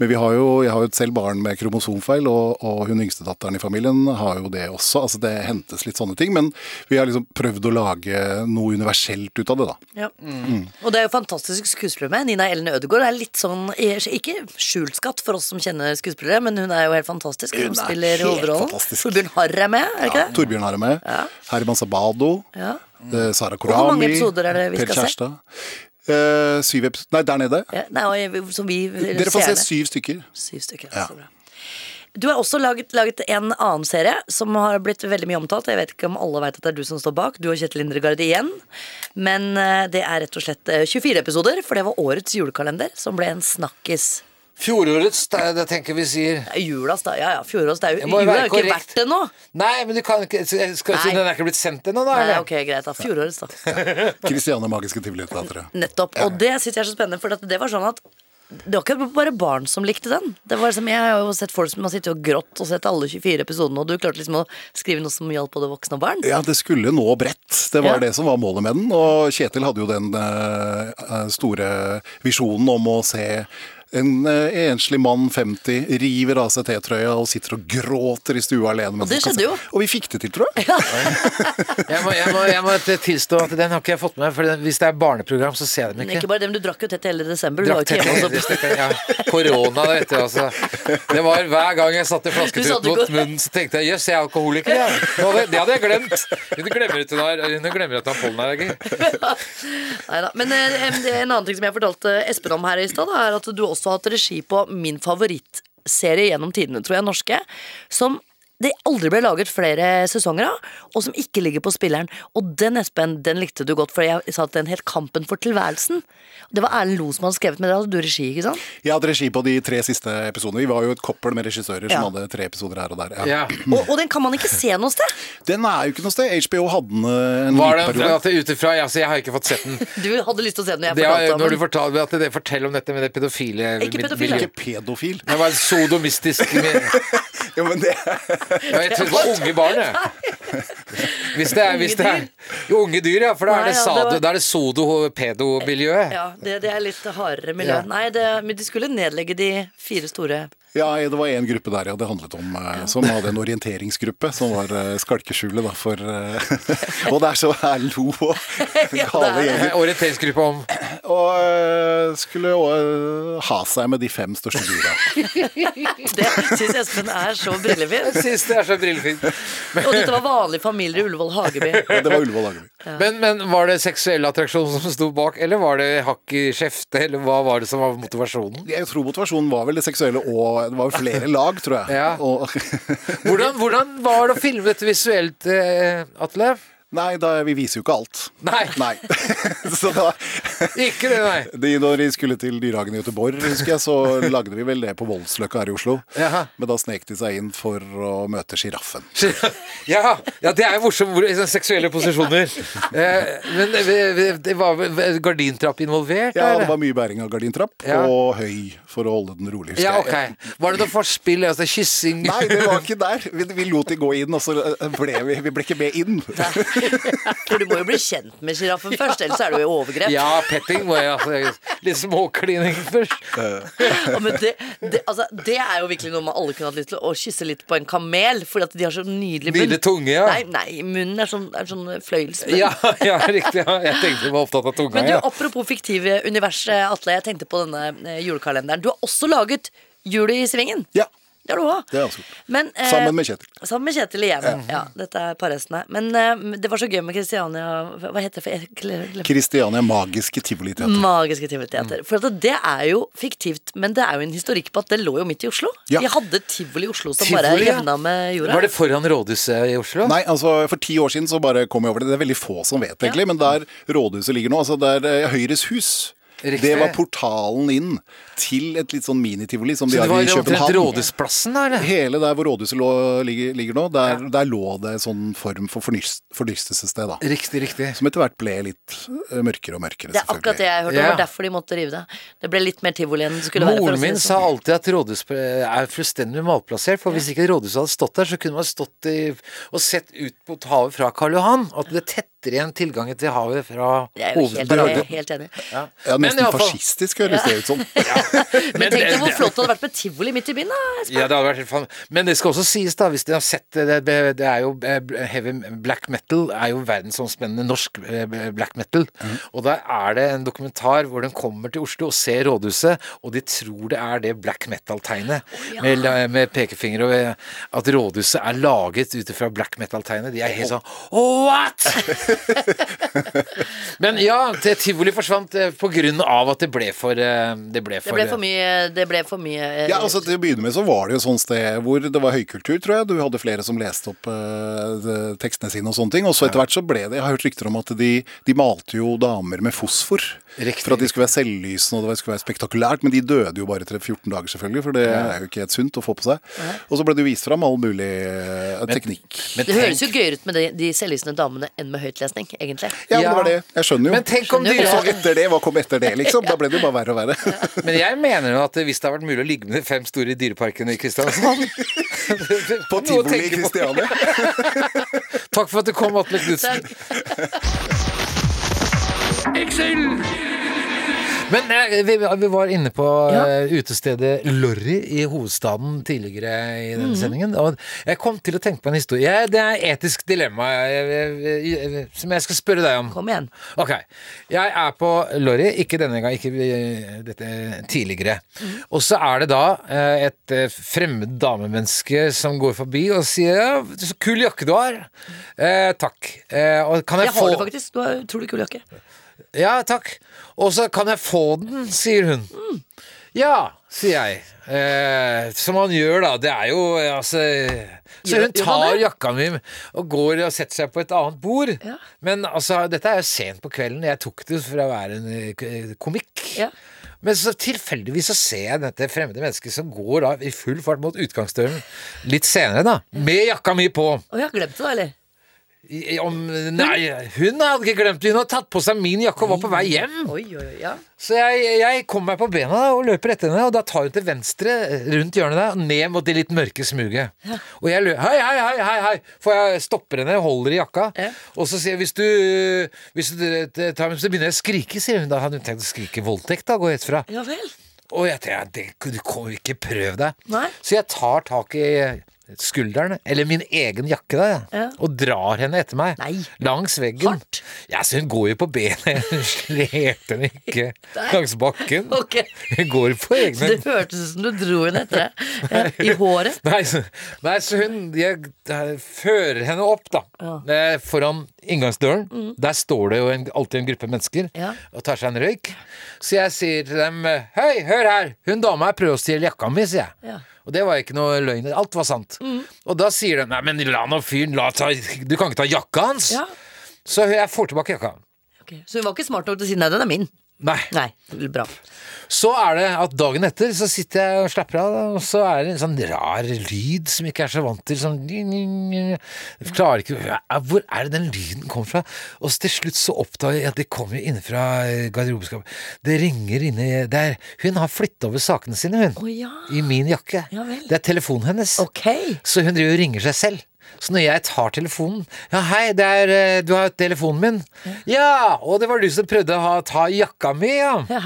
[SPEAKER 5] men vi har jo, jeg har jo selv barn med kromosomfeil, og, og hun yngste datteren i familien har jo det også. Altså, det hentes litt sånne ting, men vi har liksom prøvd å lage noe universelt ut av det, da.
[SPEAKER 3] Ja.
[SPEAKER 2] Mm.
[SPEAKER 5] Mm.
[SPEAKER 3] Og det er jo fantastiske skuespillere med. Nina Ellen Ødegaard er litt sånn Ikke skjult skatt for oss som kjenner skuespillere, men hun er jo helt fantastisk. Hun,
[SPEAKER 5] Hun er
[SPEAKER 3] spiller
[SPEAKER 5] helt
[SPEAKER 3] hovedrollen.
[SPEAKER 5] fantastisk.
[SPEAKER 3] Torbjørn Harr er med, er det ikke
[SPEAKER 5] Ja,
[SPEAKER 3] det?
[SPEAKER 5] Torbjørn har det med. Herman Sabado.
[SPEAKER 3] Ja.
[SPEAKER 5] eh, Sara Korami.
[SPEAKER 3] hvor mange episoder er det vi
[SPEAKER 5] Per
[SPEAKER 3] skal se?
[SPEAKER 5] Kjærstad. Eh, syv episoder Nei, der nede.
[SPEAKER 3] Ja, Nei, og som vi
[SPEAKER 5] Dere får se
[SPEAKER 3] seerne.
[SPEAKER 5] syv stykker.
[SPEAKER 3] Syv stykker, ja. så bra. Du har også laget, laget en annen serie som har blitt veldig mye omtalt. Jeg vet ikke om alle vet at det er du som står bak. Du og Kjetil Indregard igjen. Men eh, det er rett og slett eh, 24 episoder, for det var årets julekalender som ble en snakkis.
[SPEAKER 2] Fjorårets, det, er- det tenker vi sier.
[SPEAKER 3] Det er Julas, da. Ja ja, fjorårets. Det er
[SPEAKER 2] Det
[SPEAKER 3] jo
[SPEAKER 2] må jo
[SPEAKER 3] jula
[SPEAKER 2] være
[SPEAKER 3] er jo ikke
[SPEAKER 2] korrekt.
[SPEAKER 3] verdt det nå.
[SPEAKER 2] Nei, men du kan ikke så jeg skal, så
[SPEAKER 3] Nei.
[SPEAKER 2] Den er ikke blitt sendt ennå, da?
[SPEAKER 3] Nei,
[SPEAKER 2] eller?
[SPEAKER 3] ok, greit. da, Fjorårets, da.
[SPEAKER 5] Christiane Magiske Tivolitettere.
[SPEAKER 3] Nettopp. Og det syns jeg er så spennende, for at det var sånn at det var ikke bare barn som likte den. Det var liksom, jeg har jo sett folk som har sittet og grått og sett alle 24 episodene, og du klarte liksom å skrive noe som gjaldt både voksne og barn.
[SPEAKER 5] Ja, det skulle nå bredt. Det var
[SPEAKER 3] Ja.
[SPEAKER 5] det som var målet med den. Og Kjetil hadde jo den eh, eh, store visjonen om å se en eh, enslig mann, 50, river av seg T-trøya og sitter og gråter i stua alene. mens
[SPEAKER 3] det
[SPEAKER 5] han kan
[SPEAKER 3] skjedde
[SPEAKER 5] se-
[SPEAKER 3] jo.
[SPEAKER 5] Og vi fikk det til, tror jeg.
[SPEAKER 2] Jeg må, jeg, må, jeg må tilstå at den har ikke jeg fått med meg, for den, hvis det er barneprogram, så ser jeg dem
[SPEAKER 3] Men ikke
[SPEAKER 2] ikke.
[SPEAKER 3] bare det, men du drakk jo tett hele desember. Du Altså, var
[SPEAKER 2] Drakk
[SPEAKER 3] jo ikke hjemme
[SPEAKER 2] tett-
[SPEAKER 3] også.
[SPEAKER 2] ja, Korona, vet du, altså. Det var hver gang jeg satte
[SPEAKER 3] Du satte
[SPEAKER 2] flasketuten
[SPEAKER 3] ikke-
[SPEAKER 2] mot munnen, så tenkte jeg jøss, jeg er alkoholiker, jeg. Det hadde- Det hadde jeg glemt. Hun glemmer, at hun har- hun glemmer at hun har pollenallergi.
[SPEAKER 3] Neida. Men eh, em, det er en annen ting som jeg fortalte Espen om her i stad, da, er at du også har hatt regi på min favorittserie gjennom tidene, tror jeg, norske. Som det aldri ble laget flere sesonger av, og som ikke ligger på spilleren. Og den, Espen, den likte du godt, for jeg sa at den het Kampen for tilværelsen. Det var Erlend Loe som hadde skrevet, men det hadde du regi, ikke sant?
[SPEAKER 5] Jeg hadde regi på de tre siste episodene. Vi var jo et koppel med regissører
[SPEAKER 3] Ja.
[SPEAKER 5] som hadde tre episoder her og der. Ja.
[SPEAKER 2] Ja.
[SPEAKER 3] Og, og den kan man ikke se noe sted.
[SPEAKER 5] Den er jo ikke noe sted. HBO hadde den eh, en
[SPEAKER 2] Var
[SPEAKER 5] liten
[SPEAKER 2] den
[SPEAKER 5] periode.
[SPEAKER 2] fra, ut ifra? Ja, så jeg har ikke fått sett den.
[SPEAKER 3] Du hadde lyst til å se den når jeg
[SPEAKER 2] Det er,
[SPEAKER 3] fortalte om
[SPEAKER 2] når du
[SPEAKER 3] den.
[SPEAKER 2] fortalte at det forteller om dette med det pedofile
[SPEAKER 3] Ikke pedofile.
[SPEAKER 2] miljøet.
[SPEAKER 5] Ikke pedofil.
[SPEAKER 2] Det var sodomistisk med-
[SPEAKER 5] Ja, men det
[SPEAKER 2] Ja, Jeg trodde det var unge barn, jeg. Hvis det er, hvis det er jo, unge dyr, ja. For da er det,
[SPEAKER 3] Nei, ja, det var-
[SPEAKER 2] sado- da er det sodo-pedo-miljøet.
[SPEAKER 3] Ja, det, det er litt hardere miljø.
[SPEAKER 2] Ja.
[SPEAKER 3] Nei, det, men de skulle nedlegge de fire store
[SPEAKER 5] Ja, det var en gruppe der ja, det handlet om, eh, som hadde en orienteringsgruppe, som var eh, skalkeskjulet da, for eh, Og det er så Erlend Lo og
[SPEAKER 3] det er
[SPEAKER 5] gale
[SPEAKER 3] det.
[SPEAKER 5] gjenger.
[SPEAKER 2] Orienteringsgruppa om
[SPEAKER 5] Og eh, skulle eh, ha seg med de fem største dyra.
[SPEAKER 3] Det syns Espen er så brillefint.
[SPEAKER 2] Sist det er så brillefint.
[SPEAKER 3] Og dette var vanlige familier i Ullevål Hageby.
[SPEAKER 5] Det var Ullevål Hageby.
[SPEAKER 2] Men, men var det seksuell attraksjon som sto bak, eller var det hakk i skjeftet, eller hva var det som var motivasjonen?
[SPEAKER 5] Jeg tror motivasjonen var vel det seksuelle og Det var jo flere lag, tror jeg.
[SPEAKER 2] Ja.
[SPEAKER 5] Og,
[SPEAKER 2] Hvordan, hvordan var det å filme dette visuelt, eh, Atle?
[SPEAKER 5] nei, da, vi viser jo ikke alt.
[SPEAKER 2] Nei.
[SPEAKER 5] nei. Så da
[SPEAKER 2] Ikke det, nei.
[SPEAKER 5] de, Når de skulle til Dyrehagen i Göteborg, husker jeg, så lagde vi vel det på Voldsløkka her i Oslo.
[SPEAKER 2] Jaha.
[SPEAKER 5] Men da snek de seg inn for å møte sjiraffen.
[SPEAKER 2] Ja, ja, det er jo morsomt hvor sånne seksuelle posisjoner. Eh, men vi- vi- det var vel gardintrapp involvert?
[SPEAKER 5] Ja,
[SPEAKER 2] eller?
[SPEAKER 5] det var mye bæring av gardintrapp
[SPEAKER 2] Ja.
[SPEAKER 5] og høy for å holde den rolig. husker
[SPEAKER 2] Ja,
[SPEAKER 5] jeg.
[SPEAKER 2] ok. Var det noe forspill? Altså kyssing?
[SPEAKER 5] Nei, det var ikke der. Vi, vi lot de gå inn, og så eh, ble vi, vi ble ikke med inn.
[SPEAKER 3] For du må jo bli kjent med sjiraffen først, ellers er det jo overgrep.
[SPEAKER 2] Ja, petting må jeg altså, Litt småklining først.
[SPEAKER 3] Og men det, det, altså, det er jo virkelig noe man alle kunne hatt lyst til å kysse litt på en kamel, for at de har så nydelig munn.
[SPEAKER 2] Nydelig tunge, ja.
[SPEAKER 3] Nei, nei, munnen er sånn, er sånn fløyelsmunn.
[SPEAKER 2] Ja, ja riktig. Ja. Jeg tenkte du var opptatt av tunga.
[SPEAKER 3] Men du,
[SPEAKER 2] Ja.
[SPEAKER 3] apropos fiktive univers, eh, Atle, jeg tenkte på denne eh, julekalenderen. Du har også laget Jul i Svingen.
[SPEAKER 5] Ja.
[SPEAKER 3] Det har du òg.
[SPEAKER 5] Det har jeg også gjort. Sammen med Kjetil.
[SPEAKER 3] Sammen med Kjetil igjen. Ja, dette er parhestene. Men eh, det var så gøy med Kristiania Hva heter det? for- jeg gle- glemmer.
[SPEAKER 5] Kristiania Magiske Tivoliteater.
[SPEAKER 3] Magiske tivoliteater.
[SPEAKER 5] Mm.
[SPEAKER 3] For at det er jo fiktivt, men det er jo en historikk på at det lå jo midt i Oslo.
[SPEAKER 5] Ja.
[SPEAKER 3] De hadde tivoli i Oslo som bare
[SPEAKER 2] Tivoli, ja.
[SPEAKER 3] jevna med jorda.
[SPEAKER 2] Var det foran rådhuset i Oslo?
[SPEAKER 5] Nei, altså for ti år siden så bare kom jeg over det. Det er veldig få som vet egentlig, men der rådhuset ligger nå, altså der eh, Høyres hus
[SPEAKER 2] Riktig.
[SPEAKER 5] Det var portalen inn til et litt sånn minitivoli som de
[SPEAKER 2] Så det
[SPEAKER 5] har
[SPEAKER 2] var
[SPEAKER 5] i
[SPEAKER 2] omtrent
[SPEAKER 5] København.
[SPEAKER 2] Rådhusplassen, da? eller?
[SPEAKER 5] Hele der hvor rådhuset lå, ligger, ligger nå, der, der lå det en sånn form for fornys- forlystelsessted, da.
[SPEAKER 2] Riktig, riktig.
[SPEAKER 5] Som etter hvert ble litt eh, mørkere og mørkere,
[SPEAKER 3] Det er akkurat det
[SPEAKER 5] selvfølgelig.
[SPEAKER 3] jeg hørte. Det
[SPEAKER 2] Ja.
[SPEAKER 3] var derfor de måtte rive det. Det ble litt mer tivoli enn det skulle være. for å
[SPEAKER 2] Moren
[SPEAKER 3] si det
[SPEAKER 2] min
[SPEAKER 3] sånn.
[SPEAKER 2] sa alltid at rådhuset er fullstendig malplassert. For hvis ikke rådhuset hadde stått der, så kunne man stått i, og sett ut mot havet fra Karl Johan. At det tettere igjen tilgangen til havet fra
[SPEAKER 3] Jeg er jo helt, jeg er
[SPEAKER 2] hovedterrenget.
[SPEAKER 3] helt enig.
[SPEAKER 2] Ja. Men
[SPEAKER 5] Ja,
[SPEAKER 2] i
[SPEAKER 5] nesten
[SPEAKER 2] alle fall-
[SPEAKER 5] fascistisk høres det ut som.
[SPEAKER 3] Men tenk deg hvor
[SPEAKER 2] det-
[SPEAKER 3] flott det hadde vært med tivoli midt i byen, da.
[SPEAKER 2] Ja, det hadde vært helt fan... Men det skal også sies, da, hvis dere har sett det, det, det er jo eh, heavy Black metal er jo verdensomspennende norsk eh, black metal. Og der er det en dokumentar hvor de kommer til Oslo og ser rådhuset, og de tror det er det black metal-tegnet. med, med pekefinger og eh, At rådhuset er laget ut ifra black metal-tegnet. De er helt sånn What?! Men ja, det- tivoli forsvant eh, på grunn av at det ble for eh, Det ble
[SPEAKER 3] Det
[SPEAKER 2] for,
[SPEAKER 3] ble for mye, det ble for mye eh,
[SPEAKER 5] Ja, altså Til å begynne med så var det jo et sånt sted hvor det var høykultur, tror jeg. Du hadde flere som leste opp eh, de- tekstene sine og sånne ting. Og så etter hvert så ble det Jeg har hørt rykter om at de, de malte jo damer med fosfor.
[SPEAKER 2] Riktig.
[SPEAKER 5] For at de skulle være selvlysende og det skulle være spektakulært. Men de døde jo bare etter 14 dager, selvfølgelig. For det er jo ikke helt sunt å få på seg. Og så ble det jo vist fram all mulig eh, teknikk.
[SPEAKER 2] Men
[SPEAKER 3] Det høres
[SPEAKER 2] tenk-
[SPEAKER 3] jo gøyere ut med de, de selvlysende damene enn med høytlesning, egentlig.
[SPEAKER 5] Ja, men
[SPEAKER 2] Ja.
[SPEAKER 5] det var det. Jeg skjønner jo.
[SPEAKER 2] Men tenk om
[SPEAKER 3] Skjønner jo
[SPEAKER 5] og så
[SPEAKER 2] dyrehagen
[SPEAKER 5] etter det, hva kom etter det, liksom? Da ble det jo bare verre og verre.
[SPEAKER 2] Men jeg mener jo at hvis det har vært mulig å ligge med de fem store dyreparkene i Kristiansand
[SPEAKER 5] På
[SPEAKER 2] Noe å
[SPEAKER 5] tivoli i
[SPEAKER 2] tenke på.
[SPEAKER 5] Kristiania.
[SPEAKER 2] Takk for at du kom, Atle Knutsen. Men eh, vi, vi var inne på eh, utestedet Lorry i hovedstaden tidligere i denne
[SPEAKER 5] Mhm.
[SPEAKER 2] sendingen. Og jeg kom til å tenke på en historie. Jeg, det er et etisk dilemma jeg, jeg, jeg, jeg, som jeg skal spørre deg om.
[SPEAKER 3] Kom igjen.
[SPEAKER 2] Ok, jeg er på Lorry, ikke denne gang, ikke eh, dette tidligere. Og så er det da eh, et eh, fremmed damemenneske som går forbi og sier ja, så kul jakke du har. Eh, takk. Eh, og kan jeg,
[SPEAKER 3] Jeg har det
[SPEAKER 2] få
[SPEAKER 3] faktisk. Du har utrolig kul jakke.
[SPEAKER 2] Ja, takk. Og så kan jeg få den, sier hun. Ja, sier jeg. Eh, som han gjør, da. Det er jo eh, altså Så
[SPEAKER 3] Gjør-
[SPEAKER 2] hun
[SPEAKER 3] gjør han
[SPEAKER 2] tar
[SPEAKER 3] det?
[SPEAKER 2] jakka mi og går og setter seg på et annet bord.
[SPEAKER 3] Ja.
[SPEAKER 2] Men altså, dette er jo sent på kvelden. Jeg tok det for å være en eh, k- komikk.
[SPEAKER 3] Ja.
[SPEAKER 2] Men så tilfeldigvis så ser jeg dette fremmede mennesket som går av i full fart mot utgangsdøren litt senere, da. Med jakka mi på.
[SPEAKER 3] Å, jeg har glemt det, da, eller?
[SPEAKER 2] I- Om, nei, hun hadde ikke glemt det. Hun hadde tatt på seg min jakke og var på vei hjem.
[SPEAKER 3] Oi, oi, oi. Ja.
[SPEAKER 2] Så jeg, jeg kommer meg på bena da, og løper etter henne, og da tar hun til venstre eh, rundt hjørnet der, ned mot det litt mørke smuget. Og jeg løper Hei, hei, hei, hei! hei For jeg stopper henne, holder i jakka,
[SPEAKER 3] Ja.
[SPEAKER 2] og så sier jeg hvis du, hvis du eh, tar meg, Så begynner jeg å skrike, sier hun. Da hadde hun tenkt å skrike voldtekt, da, går jeg ut fra.
[SPEAKER 3] Ja vel.
[SPEAKER 2] Og jeg tenker, det, du kan jo ikke prøve deg.
[SPEAKER 3] Nei.
[SPEAKER 2] Så jeg tar tak i skulderen, eller min egen jakke, da,
[SPEAKER 3] Ja.
[SPEAKER 2] og drar henne etter meg.
[SPEAKER 3] Nei.
[SPEAKER 2] Langs veggen.
[SPEAKER 3] Hardt.
[SPEAKER 2] Ja, så hun går jo på benet. Hun slepte henne ikke
[SPEAKER 3] Nei.
[SPEAKER 2] langs bakken.
[SPEAKER 3] Ok.
[SPEAKER 2] Hun går på
[SPEAKER 3] Så det
[SPEAKER 2] egne
[SPEAKER 3] hørtes ut som du dro henne etter deg. Ja, I håret.
[SPEAKER 2] Nei, så, nei, så hun jeg, jeg fører henne opp, da. Eh, Foran inngangsdøren. Der står det jo en, alltid en gruppe mennesker
[SPEAKER 3] Mm. Ja.
[SPEAKER 2] og tar seg en røyk. Så jeg sier til dem Hei, hør her! Hun dama her prøver å stjele jakka mi, sier jeg.
[SPEAKER 3] Ja. Mm.
[SPEAKER 2] Og det var ikke noe løgn. Alt var sant. Og da sier de Nei, men la nå fyren la ta Du kan ikke ta jakka hans!
[SPEAKER 3] Ja.
[SPEAKER 2] Så jeg får tilbake jakka.
[SPEAKER 3] Ok. Så hun var ikke smart nok til å si nei, den er min.
[SPEAKER 2] Nei.
[SPEAKER 3] Nei, bra.
[SPEAKER 2] Så er det at dagen etter så sitter jeg og slapper av, da, og så er det en sånn rar lyd som jeg ikke er så vant til. Sånn Jeg klarer ikke Ja, Hvor er det den lyden kommer fra? Og så til slutt så oppdager jeg at det kommer jo innenfra eh, garderobeskapet. Det ringer inni der. Hun har flytta over sakene sine, hun.
[SPEAKER 3] Å ja.
[SPEAKER 2] I min jakke.
[SPEAKER 3] Ja vel.
[SPEAKER 2] Det er telefonen hennes.
[SPEAKER 3] Ok.
[SPEAKER 2] Så hun driver og ringer seg selv. Så når jeg tar telefonen Ja, hei, det er, eh, du har telefonen min. Ja, og det var du som prøvde å ha, ta jakka mi, ja.
[SPEAKER 3] Ja.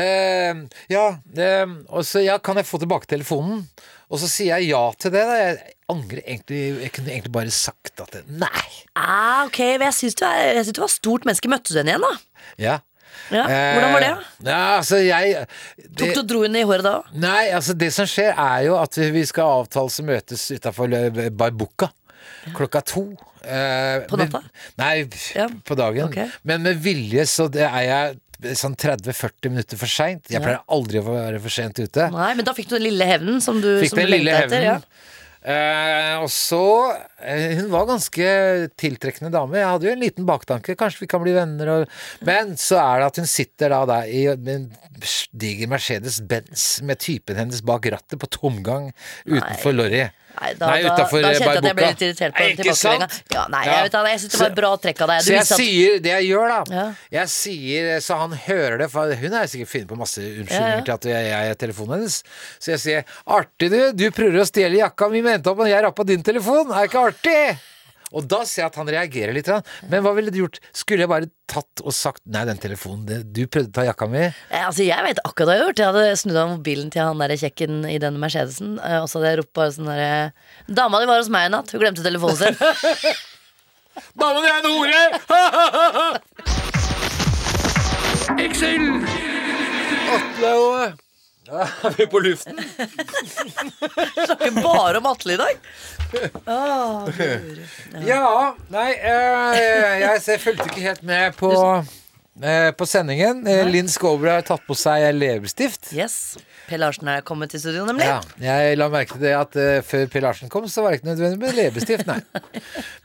[SPEAKER 2] Eh, ja, eh, og så ja, kan jeg få tilbake telefonen? Og så sier jeg ja til det. Da. Jeg angrer egentlig Jeg kunne egentlig bare sagt at det, Nei!
[SPEAKER 3] Ah, ok, men jeg syns du, er- jeg synes du var stort menneske. Møtte du henne igjen, da?
[SPEAKER 2] Ja.
[SPEAKER 3] Ja. Hvordan var det? da?
[SPEAKER 2] Eh, Ja, altså, jeg
[SPEAKER 3] Tok
[SPEAKER 2] det-
[SPEAKER 3] du og dro henne i håret da òg?
[SPEAKER 2] Nei, altså det som skjer er jo at vi skal avtales og møtes utafor Barbuca klokka to. Eh,
[SPEAKER 3] På
[SPEAKER 2] men-
[SPEAKER 3] natta?
[SPEAKER 2] Nei,
[SPEAKER 3] Ja.
[SPEAKER 2] på dagen.
[SPEAKER 3] Ok.
[SPEAKER 2] Men med vilje så det er jeg sånn 30-40 minutter for seint. Jeg pleier aldri å være for sent ute.
[SPEAKER 3] Nei, men da fikk du den lille hevnen som du
[SPEAKER 2] Fikk
[SPEAKER 3] som
[SPEAKER 2] den
[SPEAKER 3] du
[SPEAKER 2] lille
[SPEAKER 3] lengta etter,
[SPEAKER 2] hevnen. Eh, og så eh, Hun var ganske tiltrekkende dame. Jeg hadde jo en liten baktanke. Kanskje vi kan bli venner og Men så er det at hun sitter da der i en diger Mercedes Benz med typen hennes bak rattet på tomgang utenfor Lorry.
[SPEAKER 3] Nei, da, da, da kjente jeg
[SPEAKER 2] eh,
[SPEAKER 3] at jeg ble litt irritert på den tilbakemeldinga. Ja, nei, jeg vet da, jeg syns det var et bra trekk av deg. Du
[SPEAKER 2] så jeg
[SPEAKER 3] visste at
[SPEAKER 2] sier det jeg gjør, da.
[SPEAKER 3] Ja.
[SPEAKER 2] Jeg sier, Så han hører det, for hun er sikkert finne på masse unnskyldninger
[SPEAKER 3] Ja,
[SPEAKER 2] til
[SPEAKER 3] ja.
[SPEAKER 2] at jeg, jeg er telefonen hennes. Så jeg sier 'artig, du. Du prøver å stjele jakka mi med jenta, men jeg rappa din telefon. Er ikke artig?' Og da ser jeg at han reagerer litt. grann. Men hva ville du gjort? Skulle jeg bare tatt og sagt 'nei, den telefonen, det, du prøvde å ta jakka mi'?
[SPEAKER 3] Eh, Altså, jeg vet akkurat hva jeg har gjort. Jeg hadde snudd av mobilen til han der kjekken i den Mercedesen. eh, Og så hadde jeg ropt bare sånn derre Dama di var hos meg i natt, hun glemte telefonen sin.
[SPEAKER 2] Dama di er en hore! Atle og Ja, er vi på luften?
[SPEAKER 3] Snakker bare om Atle i dag.
[SPEAKER 2] Ja, nei eh, Jeg, jeg fulgte ikke helt med på eh, på sendingen. Eh, Linn Skåber har tatt på seg leppestift.
[SPEAKER 3] Yes. Per Larsen er kommet til studio, nemlig.
[SPEAKER 2] Ja, jeg la merke til det at eh, før Per Larsen kom, så var det ikke nødvendig med leppestift, nei.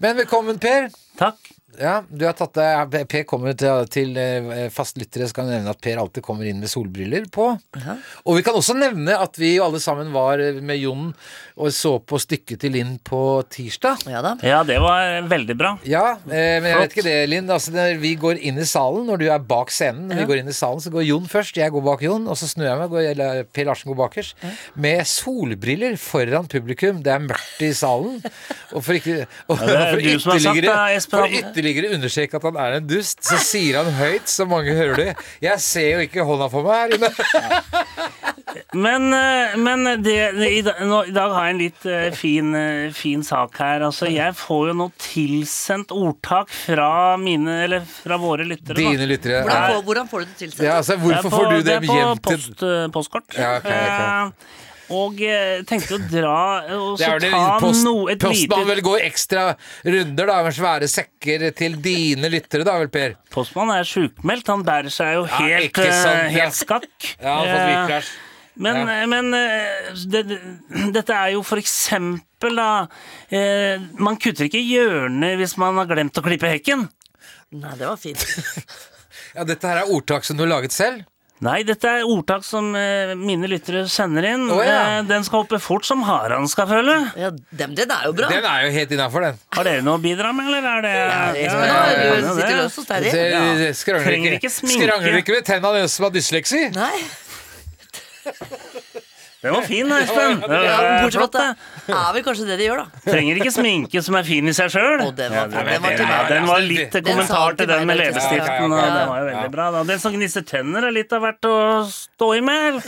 [SPEAKER 2] Men velkommen, Per.
[SPEAKER 6] Takk.
[SPEAKER 2] Ja, du har tatt deg ja, Per kommer til, til eh, fastlyttere, skal jeg nevne at Per alltid kommer inn med solbriller på. Og vi kan også nevne at vi alle sammen var eh, med Jon og så på stykket til Linn på tirsdag.
[SPEAKER 3] Ja da.
[SPEAKER 6] Ja, det var veldig bra.
[SPEAKER 2] Ja, eh, men jeg vet
[SPEAKER 6] Flott.
[SPEAKER 2] ikke det, Linn. Altså, når vi går inn i salen når du er bak scenen. Når vi går inn i salen, så går Jon først, jeg går bak Jon, og så snur jeg meg, går, eller Per Larsen går bakerst, med solbriller foran publikum. Det er mørkt i salen. Og for, ikke, og,
[SPEAKER 6] Ja, det er
[SPEAKER 2] for,
[SPEAKER 6] du som har sagt
[SPEAKER 2] ytterligere,
[SPEAKER 6] det, Espen.
[SPEAKER 2] for ytterligere understreke at han er en dust, så sier han høyt, så mange hører det. Jeg ser jo ikke hånda på meg her inne.
[SPEAKER 6] Men, eh, men det, i, da- nå, i dag har jeg en litt eh, fin, eh, fin sak her. Altså, jeg får jo nå tilsendt ordtak fra mine, eller fra våre lyttere. da.
[SPEAKER 2] Dine lyttere.
[SPEAKER 3] Hvordan
[SPEAKER 2] er-
[SPEAKER 3] får, hvordan får du det tilsendt?
[SPEAKER 2] Ja, altså, hvorfor
[SPEAKER 6] Det er på-
[SPEAKER 2] får du dem hjem
[SPEAKER 6] Det
[SPEAKER 2] til
[SPEAKER 6] er på post, eh, postkort.
[SPEAKER 2] Ja, ok, ok.
[SPEAKER 6] Eh, og eh, tenkte å dra eh, og
[SPEAKER 2] Det
[SPEAKER 6] så
[SPEAKER 2] er vel
[SPEAKER 6] ta
[SPEAKER 2] post,
[SPEAKER 6] noe, et
[SPEAKER 2] Postmannen
[SPEAKER 6] lite
[SPEAKER 2] vil gå ekstra runder da, med svære sekker til dine lyttere, da vel, Per?
[SPEAKER 6] Postmannen er sjukmeldt. Han bærer seg jo
[SPEAKER 2] Ja,
[SPEAKER 6] helt,
[SPEAKER 2] ikke sant,
[SPEAKER 6] eh,
[SPEAKER 2] ja.
[SPEAKER 6] helt skakk.
[SPEAKER 2] Ja, han har fått
[SPEAKER 6] Eh,
[SPEAKER 2] hvitklæsj.
[SPEAKER 6] Men, men eh, det, det- dette er jo for eksempel da eh, Man kutter ikke hjørner hvis man har glemt å klippe hekken.
[SPEAKER 3] Nei, det var fint.
[SPEAKER 2] Ja, dette her er ordtak som du har laget selv?
[SPEAKER 6] Nei, dette er ordtak som eh, mine lyttere sender inn.
[SPEAKER 2] Å, ja.
[SPEAKER 6] Eh, Den skal hoppe fort som haren skal føle.
[SPEAKER 3] Ja, dem, den er jo bra.
[SPEAKER 2] Den er jo helt innafor, den.
[SPEAKER 6] Har dere noe å bidra med, eller er det
[SPEAKER 3] Espen,
[SPEAKER 6] Ja,
[SPEAKER 3] nå
[SPEAKER 6] ja,
[SPEAKER 3] er
[SPEAKER 6] ja,
[SPEAKER 3] du
[SPEAKER 6] det.
[SPEAKER 3] sitter løs hos deg.
[SPEAKER 2] Det-
[SPEAKER 3] Eddie.
[SPEAKER 6] Ja.
[SPEAKER 2] Skrangler
[SPEAKER 6] Trenger
[SPEAKER 2] ikke,
[SPEAKER 6] ikke sminke.
[SPEAKER 2] skrangler ikke med tenna den som har dysleksi.
[SPEAKER 3] Nei.
[SPEAKER 6] Den var fin, Espen. Det
[SPEAKER 3] Ja,
[SPEAKER 6] var
[SPEAKER 3] bortsett fra
[SPEAKER 6] flott,
[SPEAKER 3] at det er vel kanskje det de gjør, da.
[SPEAKER 6] det. Trenger ikke sminke som er fin i seg sjøl.
[SPEAKER 3] Og den var, den var til
[SPEAKER 6] Ja,
[SPEAKER 3] meg.
[SPEAKER 6] den var litt
[SPEAKER 2] Den
[SPEAKER 3] sa
[SPEAKER 6] kommentar
[SPEAKER 3] til
[SPEAKER 6] til den
[SPEAKER 3] meg
[SPEAKER 6] med
[SPEAKER 3] da, ikke sant?
[SPEAKER 6] leppestiften.
[SPEAKER 2] Ja,
[SPEAKER 6] Og
[SPEAKER 2] ja,
[SPEAKER 6] det
[SPEAKER 2] ja.
[SPEAKER 6] var jo
[SPEAKER 2] Ja.
[SPEAKER 6] veldig bra. Da. Den som gnisser tenner, er litt av hvert å stå i med. eller?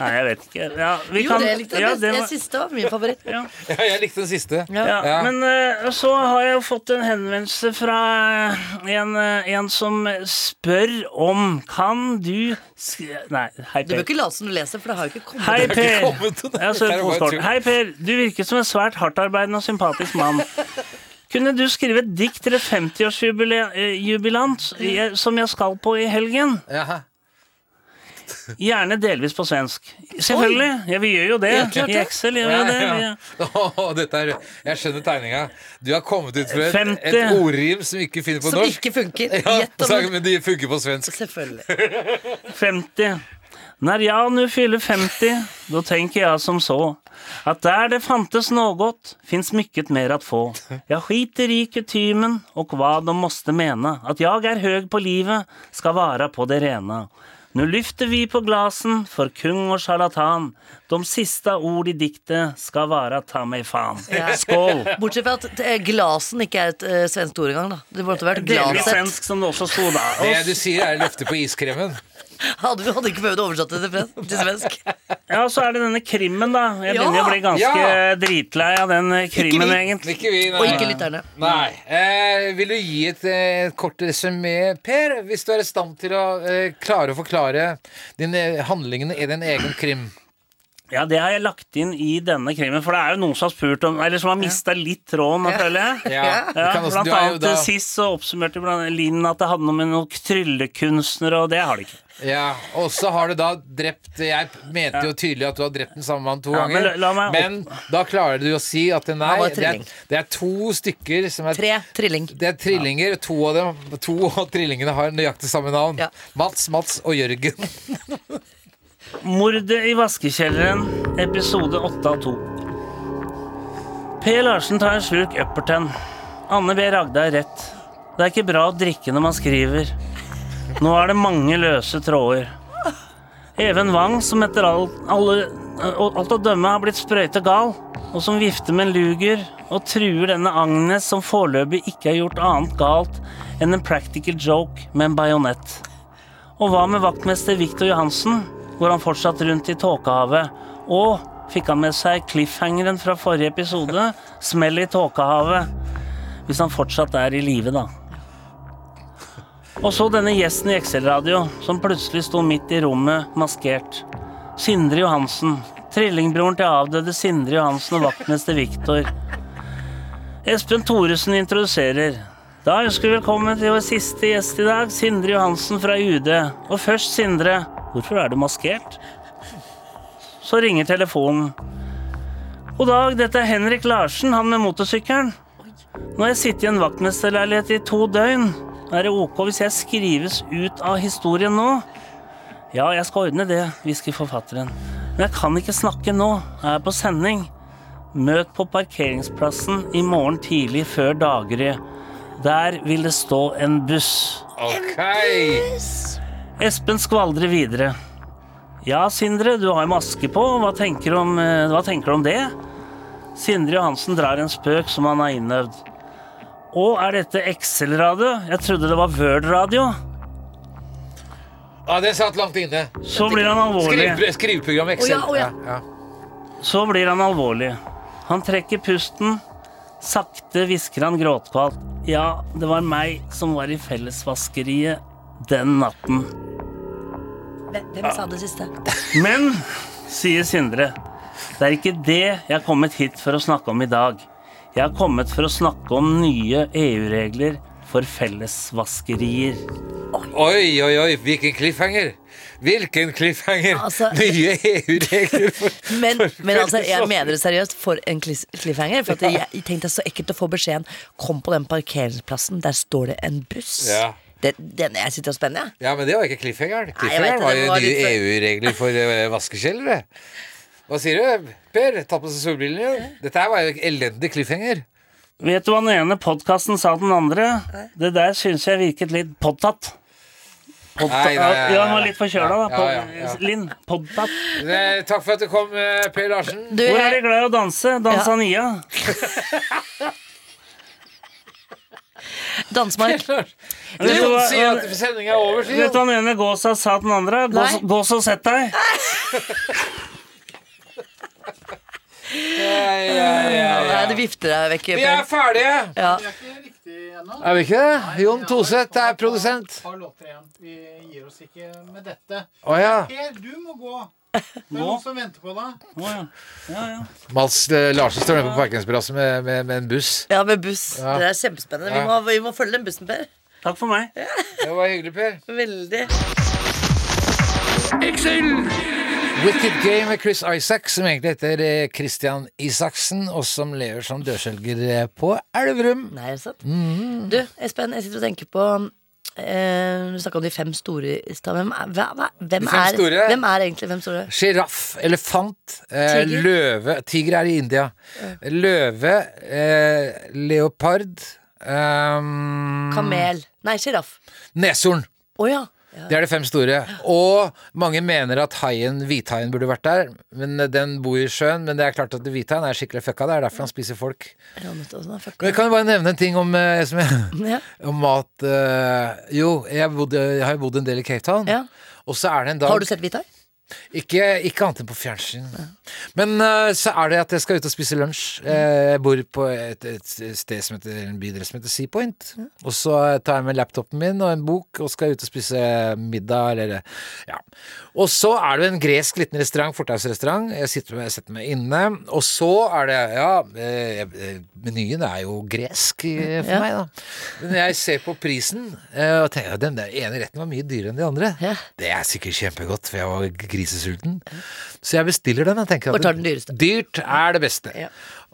[SPEAKER 6] Nei, jeg vet ikke. Ja, vi
[SPEAKER 3] Jo,
[SPEAKER 6] kan
[SPEAKER 3] det likte
[SPEAKER 6] ja,
[SPEAKER 3] jeg best.
[SPEAKER 6] det
[SPEAKER 3] Jeg
[SPEAKER 6] var-
[SPEAKER 3] synes det var min favoritt.
[SPEAKER 6] ja.
[SPEAKER 2] Ja, jeg likte den siste.
[SPEAKER 6] Ja,
[SPEAKER 2] Ja.
[SPEAKER 6] Men eh, så har jeg jo fått en henvendelse fra en, eh, en som spør om Kan du skri... Nei, hei,
[SPEAKER 3] Du bør
[SPEAKER 6] Per.
[SPEAKER 3] ikke late som du leser, for det har jo ikke kommet
[SPEAKER 6] Hei,
[SPEAKER 2] Det er ikke
[SPEAKER 6] Per.
[SPEAKER 2] kommet noe der.
[SPEAKER 6] Jeg
[SPEAKER 2] Det
[SPEAKER 6] ser
[SPEAKER 2] er
[SPEAKER 6] på
[SPEAKER 2] bare
[SPEAKER 6] skålen.
[SPEAKER 2] tull.
[SPEAKER 6] Hei, Per. Du virker som en svært hardtarbeidende og sympatisk mann. Kunne du skrive et dikt til 50-årsjubilant eh, som jeg skal på i helgen?
[SPEAKER 2] Jaha.
[SPEAKER 6] Gjerne delvis på svensk. Selvfølgelig. Ja, vi gjør jo det. I Excel gjør vi
[SPEAKER 2] Ja,
[SPEAKER 6] jo det.
[SPEAKER 2] ja.
[SPEAKER 6] Vi-
[SPEAKER 2] Åh, dette er, jeg skjønner tegninga. Du har kommet ut med et,
[SPEAKER 6] 50.
[SPEAKER 2] et ordrim som ikke finner på
[SPEAKER 3] Som
[SPEAKER 2] norsk.
[SPEAKER 3] ikke funker.
[SPEAKER 2] Ja,
[SPEAKER 3] Gjett om
[SPEAKER 2] så- men de funker på svensk.
[SPEAKER 3] Selvfølgelig.
[SPEAKER 6] 50. Når jeg nå fyller 50, da tenker jeg som så at der det fantes noe, fins mycket mer at få. Jeg skiter i kutymen og hva de måste mene. At jeg er høg på livet, skal vara på det rene. Nu lyfter vi på glasen for kung og sjarlatan. De siste ord i diktet skal være ta meg faen.
[SPEAKER 3] Ja.
[SPEAKER 6] Skål!
[SPEAKER 3] Bortsett fra at eh, glasen ikke er et eh, svensk ord engang, da. Det måtte vært
[SPEAKER 6] Delvis
[SPEAKER 3] glaset.
[SPEAKER 6] svensk, som det også sto da. Og
[SPEAKER 2] Det du sier, er løfte på iskremen.
[SPEAKER 3] Hadde vi hadde ikke prøvd å oversette det til fren- til svensk.
[SPEAKER 6] Ja, så er det denne krimmen, da. Jeg
[SPEAKER 3] Ja!
[SPEAKER 6] begynner å bli ganske
[SPEAKER 2] Ja!
[SPEAKER 6] dritlei av den eh, krimmen, egentlig.
[SPEAKER 2] Ikke vi, nei.
[SPEAKER 3] Og ikke lytterne.
[SPEAKER 2] Nei. Eh, vil du gi et, eh, et kort resymé, Per? Hvis du er i stand til å eh, klare å forklare dine handlingene i din egen krim.
[SPEAKER 6] Ja, det har jeg lagt inn i denne krimen, for det er jo noen som har spurt om Eller som har mista litt tråden, da, føler jeg.
[SPEAKER 2] Ja, du
[SPEAKER 6] Ja,
[SPEAKER 2] kan også,
[SPEAKER 6] blant
[SPEAKER 2] du er jo
[SPEAKER 6] annet
[SPEAKER 2] da
[SPEAKER 6] eh, Sist så oppsummerte blant annet Linn at det hadde noe med noen tryllekunstnere, og det har det ikke.
[SPEAKER 2] ja, Og så har du da drept Jeg mente jo tydelig at du har drept den samme mannen to
[SPEAKER 6] Ja, men
[SPEAKER 2] ganger.
[SPEAKER 6] la- la meg opp-
[SPEAKER 2] Men da klarer du å si at nei,
[SPEAKER 3] var
[SPEAKER 2] det er,
[SPEAKER 3] trilling.
[SPEAKER 2] det er to stykker som er
[SPEAKER 3] Tre trilling.
[SPEAKER 2] Det er trillinger. To av dem To av trillingene har nøyaktig samme navn.
[SPEAKER 3] Ja.
[SPEAKER 2] Mats, Mats og Jørgen.
[SPEAKER 6] Mordet i vaskekjelleren, episode 8 av 2. P. Larsen tar en slurk Upperten. Anne B. Ragde har rett. Det er ikke bra å drikke når man skriver. Nå er det mange løse tråder. Even Wang, som etter alt, alle, eh, alt å dømme har blitt sprøytegal, og som vifter med en luger og truer denne Agnes, som foreløpig ikke har gjort annet galt enn en practical joke med en bajonett. Og hva med vaktmester Victor Johansen? Går han fortsatt rundt i tåkehavet? Og fikk han med seg cliffhangeren fra forrige episode? Smell i tåkehavet. Hvis han fortsatt er i live, da. Og så denne gjesten i Excel-radio, som plutselig sto midt i rommet, maskert. Sindre Johansen. Trillingbroren til avdøde Sindre Johansen og vaktmester Victor. Espen Thoresen introduserer. Da ønsker vi velkommen til vår siste gjest i dag, Sindre Johansen fra UD. Og først, Sindre, hvorfor er du maskert? Så ringer telefonen. God dag, dette er Henrik Larsen, han med motorsykkelen. Nå har jeg sittet i en vaktmesterleilighet i to døgn. Er det ok hvis jeg skrives ut av historien nå? Ja, jeg skal ordne det, hvisker forfatteren. Men jeg kan ikke snakke nå, jeg er på sending. Møt på parkeringsplassen i morgen tidlig før daggry. Der vil det stå en buss.
[SPEAKER 2] Ok!
[SPEAKER 6] Espen skvaldrer videre. Ja, Sindre, du har jo maske på. Hva tenker du om, eh, hva tenker du om det? Sindre Johansen drar en spøk som han har innøvd. Å, er dette Excel-radio? Jeg trodde det var Word-radio.
[SPEAKER 2] Ja, det satt langt inne.
[SPEAKER 6] Så blir han alvorlig.
[SPEAKER 2] Skrive, skriveprogram Excel.
[SPEAKER 3] Å ja,
[SPEAKER 2] Ja,
[SPEAKER 6] Så blir han alvorlig. Han trekker pusten. Sakte hvisker han gråtkvalt. Ja, det var meg som var i fellesvaskeriet den natten.
[SPEAKER 3] Hvem hvem sa det siste?
[SPEAKER 6] Men, sier Sindre, det er ikke det jeg har kommet hit for å snakke om i dag. Jeg har kommet for å snakke om nye EU-regler for fellesvaskerier.
[SPEAKER 2] ja. Oi, oi, oi, hvilken cliffhanger! Hvilken cliffhanger!
[SPEAKER 3] Altså-
[SPEAKER 2] Nye EU-regler for
[SPEAKER 3] Men, men altså, jeg mener det seriøst, for en cliff- cliffhanger. For at jeg, jeg tenkte det er så ekkelt å få beskjeden Kom på den parkeringsplassen, der står det en buss.
[SPEAKER 2] Ja.
[SPEAKER 3] Det, den jeg sitter og spenner, jeg.
[SPEAKER 2] Ja, men det var ikke cliffhangeren.
[SPEAKER 3] vet
[SPEAKER 2] Cliffhangeren
[SPEAKER 3] det,
[SPEAKER 2] var
[SPEAKER 3] det
[SPEAKER 2] jo
[SPEAKER 3] var
[SPEAKER 2] nye
[SPEAKER 3] litt for-
[SPEAKER 2] EU-regler for eh, vaskekjeller, det. Hva sier du, Per? Ta på seg solbrillene. jo. Dette her var jo en elendig cliffhanger.
[SPEAKER 6] Vet du hva den ene podkasten sa den andre? Det der syns jeg virket litt podtatt. Podtatt.
[SPEAKER 2] Nei, nei, nei,
[SPEAKER 6] Ja, han var
[SPEAKER 2] nei.
[SPEAKER 6] litt forkjøla, da.
[SPEAKER 2] Ja, ja, ja.
[SPEAKER 6] Pod- Linn. Podtatt.
[SPEAKER 2] Eh, Takk for at du kom, eh, Per Larsen.
[SPEAKER 3] Du,
[SPEAKER 6] Hvor er
[SPEAKER 3] jeg,
[SPEAKER 6] de glad i å danse? Danzania.
[SPEAKER 3] Dansemark.
[SPEAKER 2] Du
[SPEAKER 6] Vet du
[SPEAKER 2] må
[SPEAKER 6] hva-
[SPEAKER 2] si at sendinga er over, sier
[SPEAKER 6] Vet du
[SPEAKER 2] han.
[SPEAKER 6] hva den ene gåsa sa til den andre? Gå,
[SPEAKER 3] Nei.
[SPEAKER 6] så- gå så sett deg.
[SPEAKER 2] Ja, ja, ja,
[SPEAKER 3] Nei,
[SPEAKER 2] ja.
[SPEAKER 3] det vifter deg vekk.
[SPEAKER 2] Vi er
[SPEAKER 3] Per.
[SPEAKER 2] ferdige!
[SPEAKER 3] Ja.
[SPEAKER 2] Er vi ikke det? Jon Toseth er produsent.
[SPEAKER 7] Har låter igjen. Vi gir oss ikke med dette.
[SPEAKER 2] Å ja.
[SPEAKER 7] Per, du må gå. Det er noen som venter på deg.
[SPEAKER 6] Å, ja. Ja, ja.
[SPEAKER 2] Mats eh, Larsen står nede på parkeringsplassen med, med, med en buss.
[SPEAKER 3] ja, med buss. Det er kjempespennende. Vi må, vi må følge den bussen, Per.
[SPEAKER 6] Takk for meg.
[SPEAKER 2] Det var hyggelig, Per.
[SPEAKER 3] Veldig.
[SPEAKER 2] Wicked Game med Chris Isaac, som egentlig heter eh, Christian Isaksen, og som lever som dørselger eh, på Elverum.
[SPEAKER 3] Nei, er det sant? Du, Espen, jeg sitter og tenker på eh, Du snakka om de fem store i stad. Hvem, er- hva- hva- hvem,
[SPEAKER 2] fem
[SPEAKER 3] er-
[SPEAKER 2] store?
[SPEAKER 3] hvem er egentlig fem store?
[SPEAKER 2] Sjiraff, elefant, eh,
[SPEAKER 3] Tiger.
[SPEAKER 2] løve Tiger er i India. Løve, eh, leopard ehm,
[SPEAKER 3] Kamel. Nei, sjiraff.
[SPEAKER 2] Neshorn.
[SPEAKER 3] Å ja. ja.
[SPEAKER 2] Det er de fem store. Og mange mener at haien, hvithaien burde vært der. Men eh, Den bor i sjøen, men det er klart at hvithaien er skikkelig fucka. Det er derfor han spiser folk.
[SPEAKER 3] Ronnet og sånn, da, fuck.
[SPEAKER 2] Men jeg kan jo bare nevne en ting om, eh, som jeg,
[SPEAKER 3] Ja.
[SPEAKER 2] om mat. eh, jo, jeg, bodde, jeg har jo bodd en del i Cape Town.
[SPEAKER 3] Ja.
[SPEAKER 2] Og så er det en dag
[SPEAKER 3] Har du sett Hvithai?
[SPEAKER 2] Ikke, ikke annet enn på fjernsyn. Men eh, så er det at jeg skal ut og spise lunsj. Eh, Jeg bor på et, et sted som heter, en bydel som heter Seapoint. Og så tar jeg med laptopen min og en bok og skal ut og spise middag eller Ja. Og så er det en gresk liten restaurant, fortausrestaurant. Jeg sitter med, jeg setter meg inne. Og så er det Ja, eh, eh, menyen er jo gresk eh, for
[SPEAKER 3] Ja.
[SPEAKER 2] meg, da. Men jeg ser på prisen eh, og tenker at den der ene retten var mye dyrere enn de andre.
[SPEAKER 3] Ja.
[SPEAKER 2] Det er sikkert kjempegodt, for jeg var grisesulten. Så jeg bestiller den. Jeg tenker at
[SPEAKER 3] Og tar den dyreste.
[SPEAKER 2] Dyrt er det beste.
[SPEAKER 3] Ja.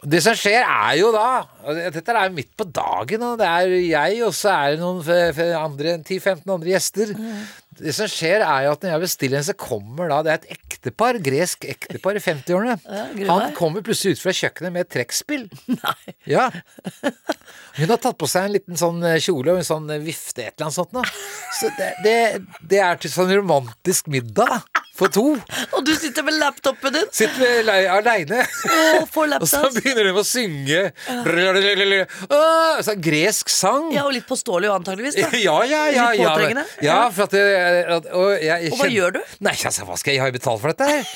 [SPEAKER 2] Det som skjer, er jo da og det- Dette er midt på dagen, og det er jeg, og så er det noen f- f- andre, 10-15 andre gjester.
[SPEAKER 3] Mm.
[SPEAKER 2] Det som skjer, er jo at når jeg bestiller en, så kommer da Det er et ektepar, gresk ektepar i 50-årene.
[SPEAKER 3] gruer
[SPEAKER 2] Han
[SPEAKER 3] meg.
[SPEAKER 2] kommer plutselig ut fra kjøkkenet med et trekkspill.
[SPEAKER 3] Nei.
[SPEAKER 2] Ja. Hun har tatt på seg en liten sånn eh, kjole og en sånn eh, vifte, et eller annet sånt. Da. Så det, det, det er til sånn romantisk middag da, for to.
[SPEAKER 3] Og du sitter med laptopen din
[SPEAKER 2] Sitter vi aleine,
[SPEAKER 3] og får
[SPEAKER 2] og så
[SPEAKER 3] laptops.
[SPEAKER 2] begynner hun å synge Åh, så Gresk sang.
[SPEAKER 3] Ja, og litt påståelig antageligvis.
[SPEAKER 2] Ja,
[SPEAKER 3] Da.
[SPEAKER 2] ja, ja.
[SPEAKER 3] Litt
[SPEAKER 2] ja,
[SPEAKER 3] påtrengende.
[SPEAKER 2] ja for at jeg, at- og, jeg, jeg
[SPEAKER 3] Og hva
[SPEAKER 2] kjenner-
[SPEAKER 3] gjør du?
[SPEAKER 2] Nei, altså, hva skal jeg, jeg har jo betalt for dette her.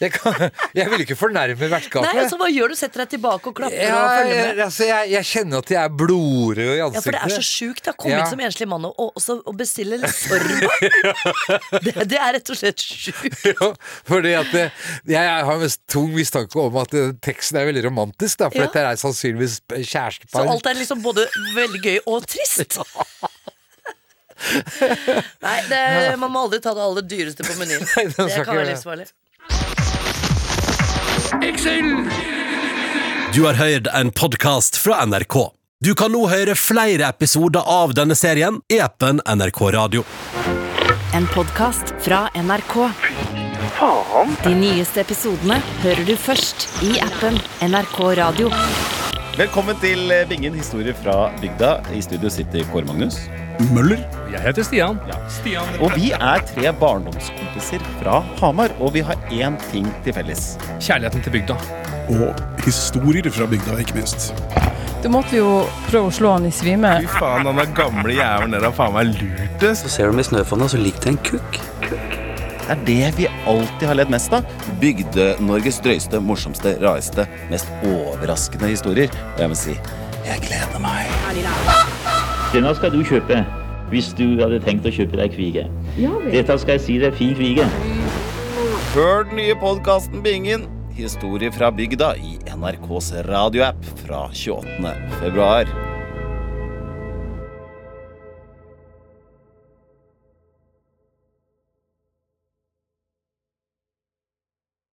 [SPEAKER 2] Jeg, kan, jeg vil ikke fornærme
[SPEAKER 3] Nei,
[SPEAKER 2] vertskapet.
[SPEAKER 3] altså Hva gjør du? Setter deg tilbake og klapper og
[SPEAKER 2] Ja,
[SPEAKER 3] følger
[SPEAKER 2] jeg,
[SPEAKER 3] med?
[SPEAKER 2] altså, jeg, jeg kjenner at jeg er blodrød i ansiktet.
[SPEAKER 3] Ja, for det er så sjukt. da. Komme
[SPEAKER 2] Ja.
[SPEAKER 3] inn som enslig mann og, og, også- og bestille litt sorba. Det, det er rett og slett sjukt.
[SPEAKER 2] Ja, fordi at det, Jeg har en tung mistanke om at eh, teksten er veldig romantisk, da, for
[SPEAKER 3] Ja.
[SPEAKER 2] dette er sannsynligvis
[SPEAKER 3] Så
[SPEAKER 2] kjærestepar.
[SPEAKER 3] alt er liksom både veldig gøy og trist. Nei, det, man må aldri ta det aller dyreste på menyen.
[SPEAKER 2] Nei, den skal
[SPEAKER 3] Det
[SPEAKER 2] ikke
[SPEAKER 3] kan
[SPEAKER 2] gjøre
[SPEAKER 3] være
[SPEAKER 2] det.
[SPEAKER 3] livsfarlig.
[SPEAKER 8] Du har hørt en podcast fra NRK. Du kan nå høre flere episoder av denne serien i appen NRK Radio.
[SPEAKER 1] En podkast fra NRK. De nyeste episodene hører du først i appen NRK Radio.
[SPEAKER 9] Velkommen til eh, Bingen historie fra bygda. I studio sitter Kåre Magnus.
[SPEAKER 10] Jeg heter Stian.
[SPEAKER 9] Og vi er tre barndomskompiser fra Hamar, og vi har én ting til felles.
[SPEAKER 10] Kjærligheten til bygda.
[SPEAKER 11] og historier fra bygda, ikke minst.
[SPEAKER 12] Du måtte jo prøve å slå han i svime.
[SPEAKER 10] faen, han der gamle jævelen der har faen meg lurt oss.
[SPEAKER 6] Ser du med snøfonna, så ligger det en kukk.
[SPEAKER 9] Det er det vi alltid har ledd mest av. Bygde-Norges drøyeste, morsomste, rareste, mest overraskende historier. Og jeg må si jeg gleder meg.
[SPEAKER 10] Denne skal du kjøpe hvis du hadde tenkt å kjøpe deg kvige. Dette skal jeg si deg fin kvige.
[SPEAKER 9] Hør den nye podkasten Bingen. Historie fra bygda i NRKs radioapp fra 28. februar.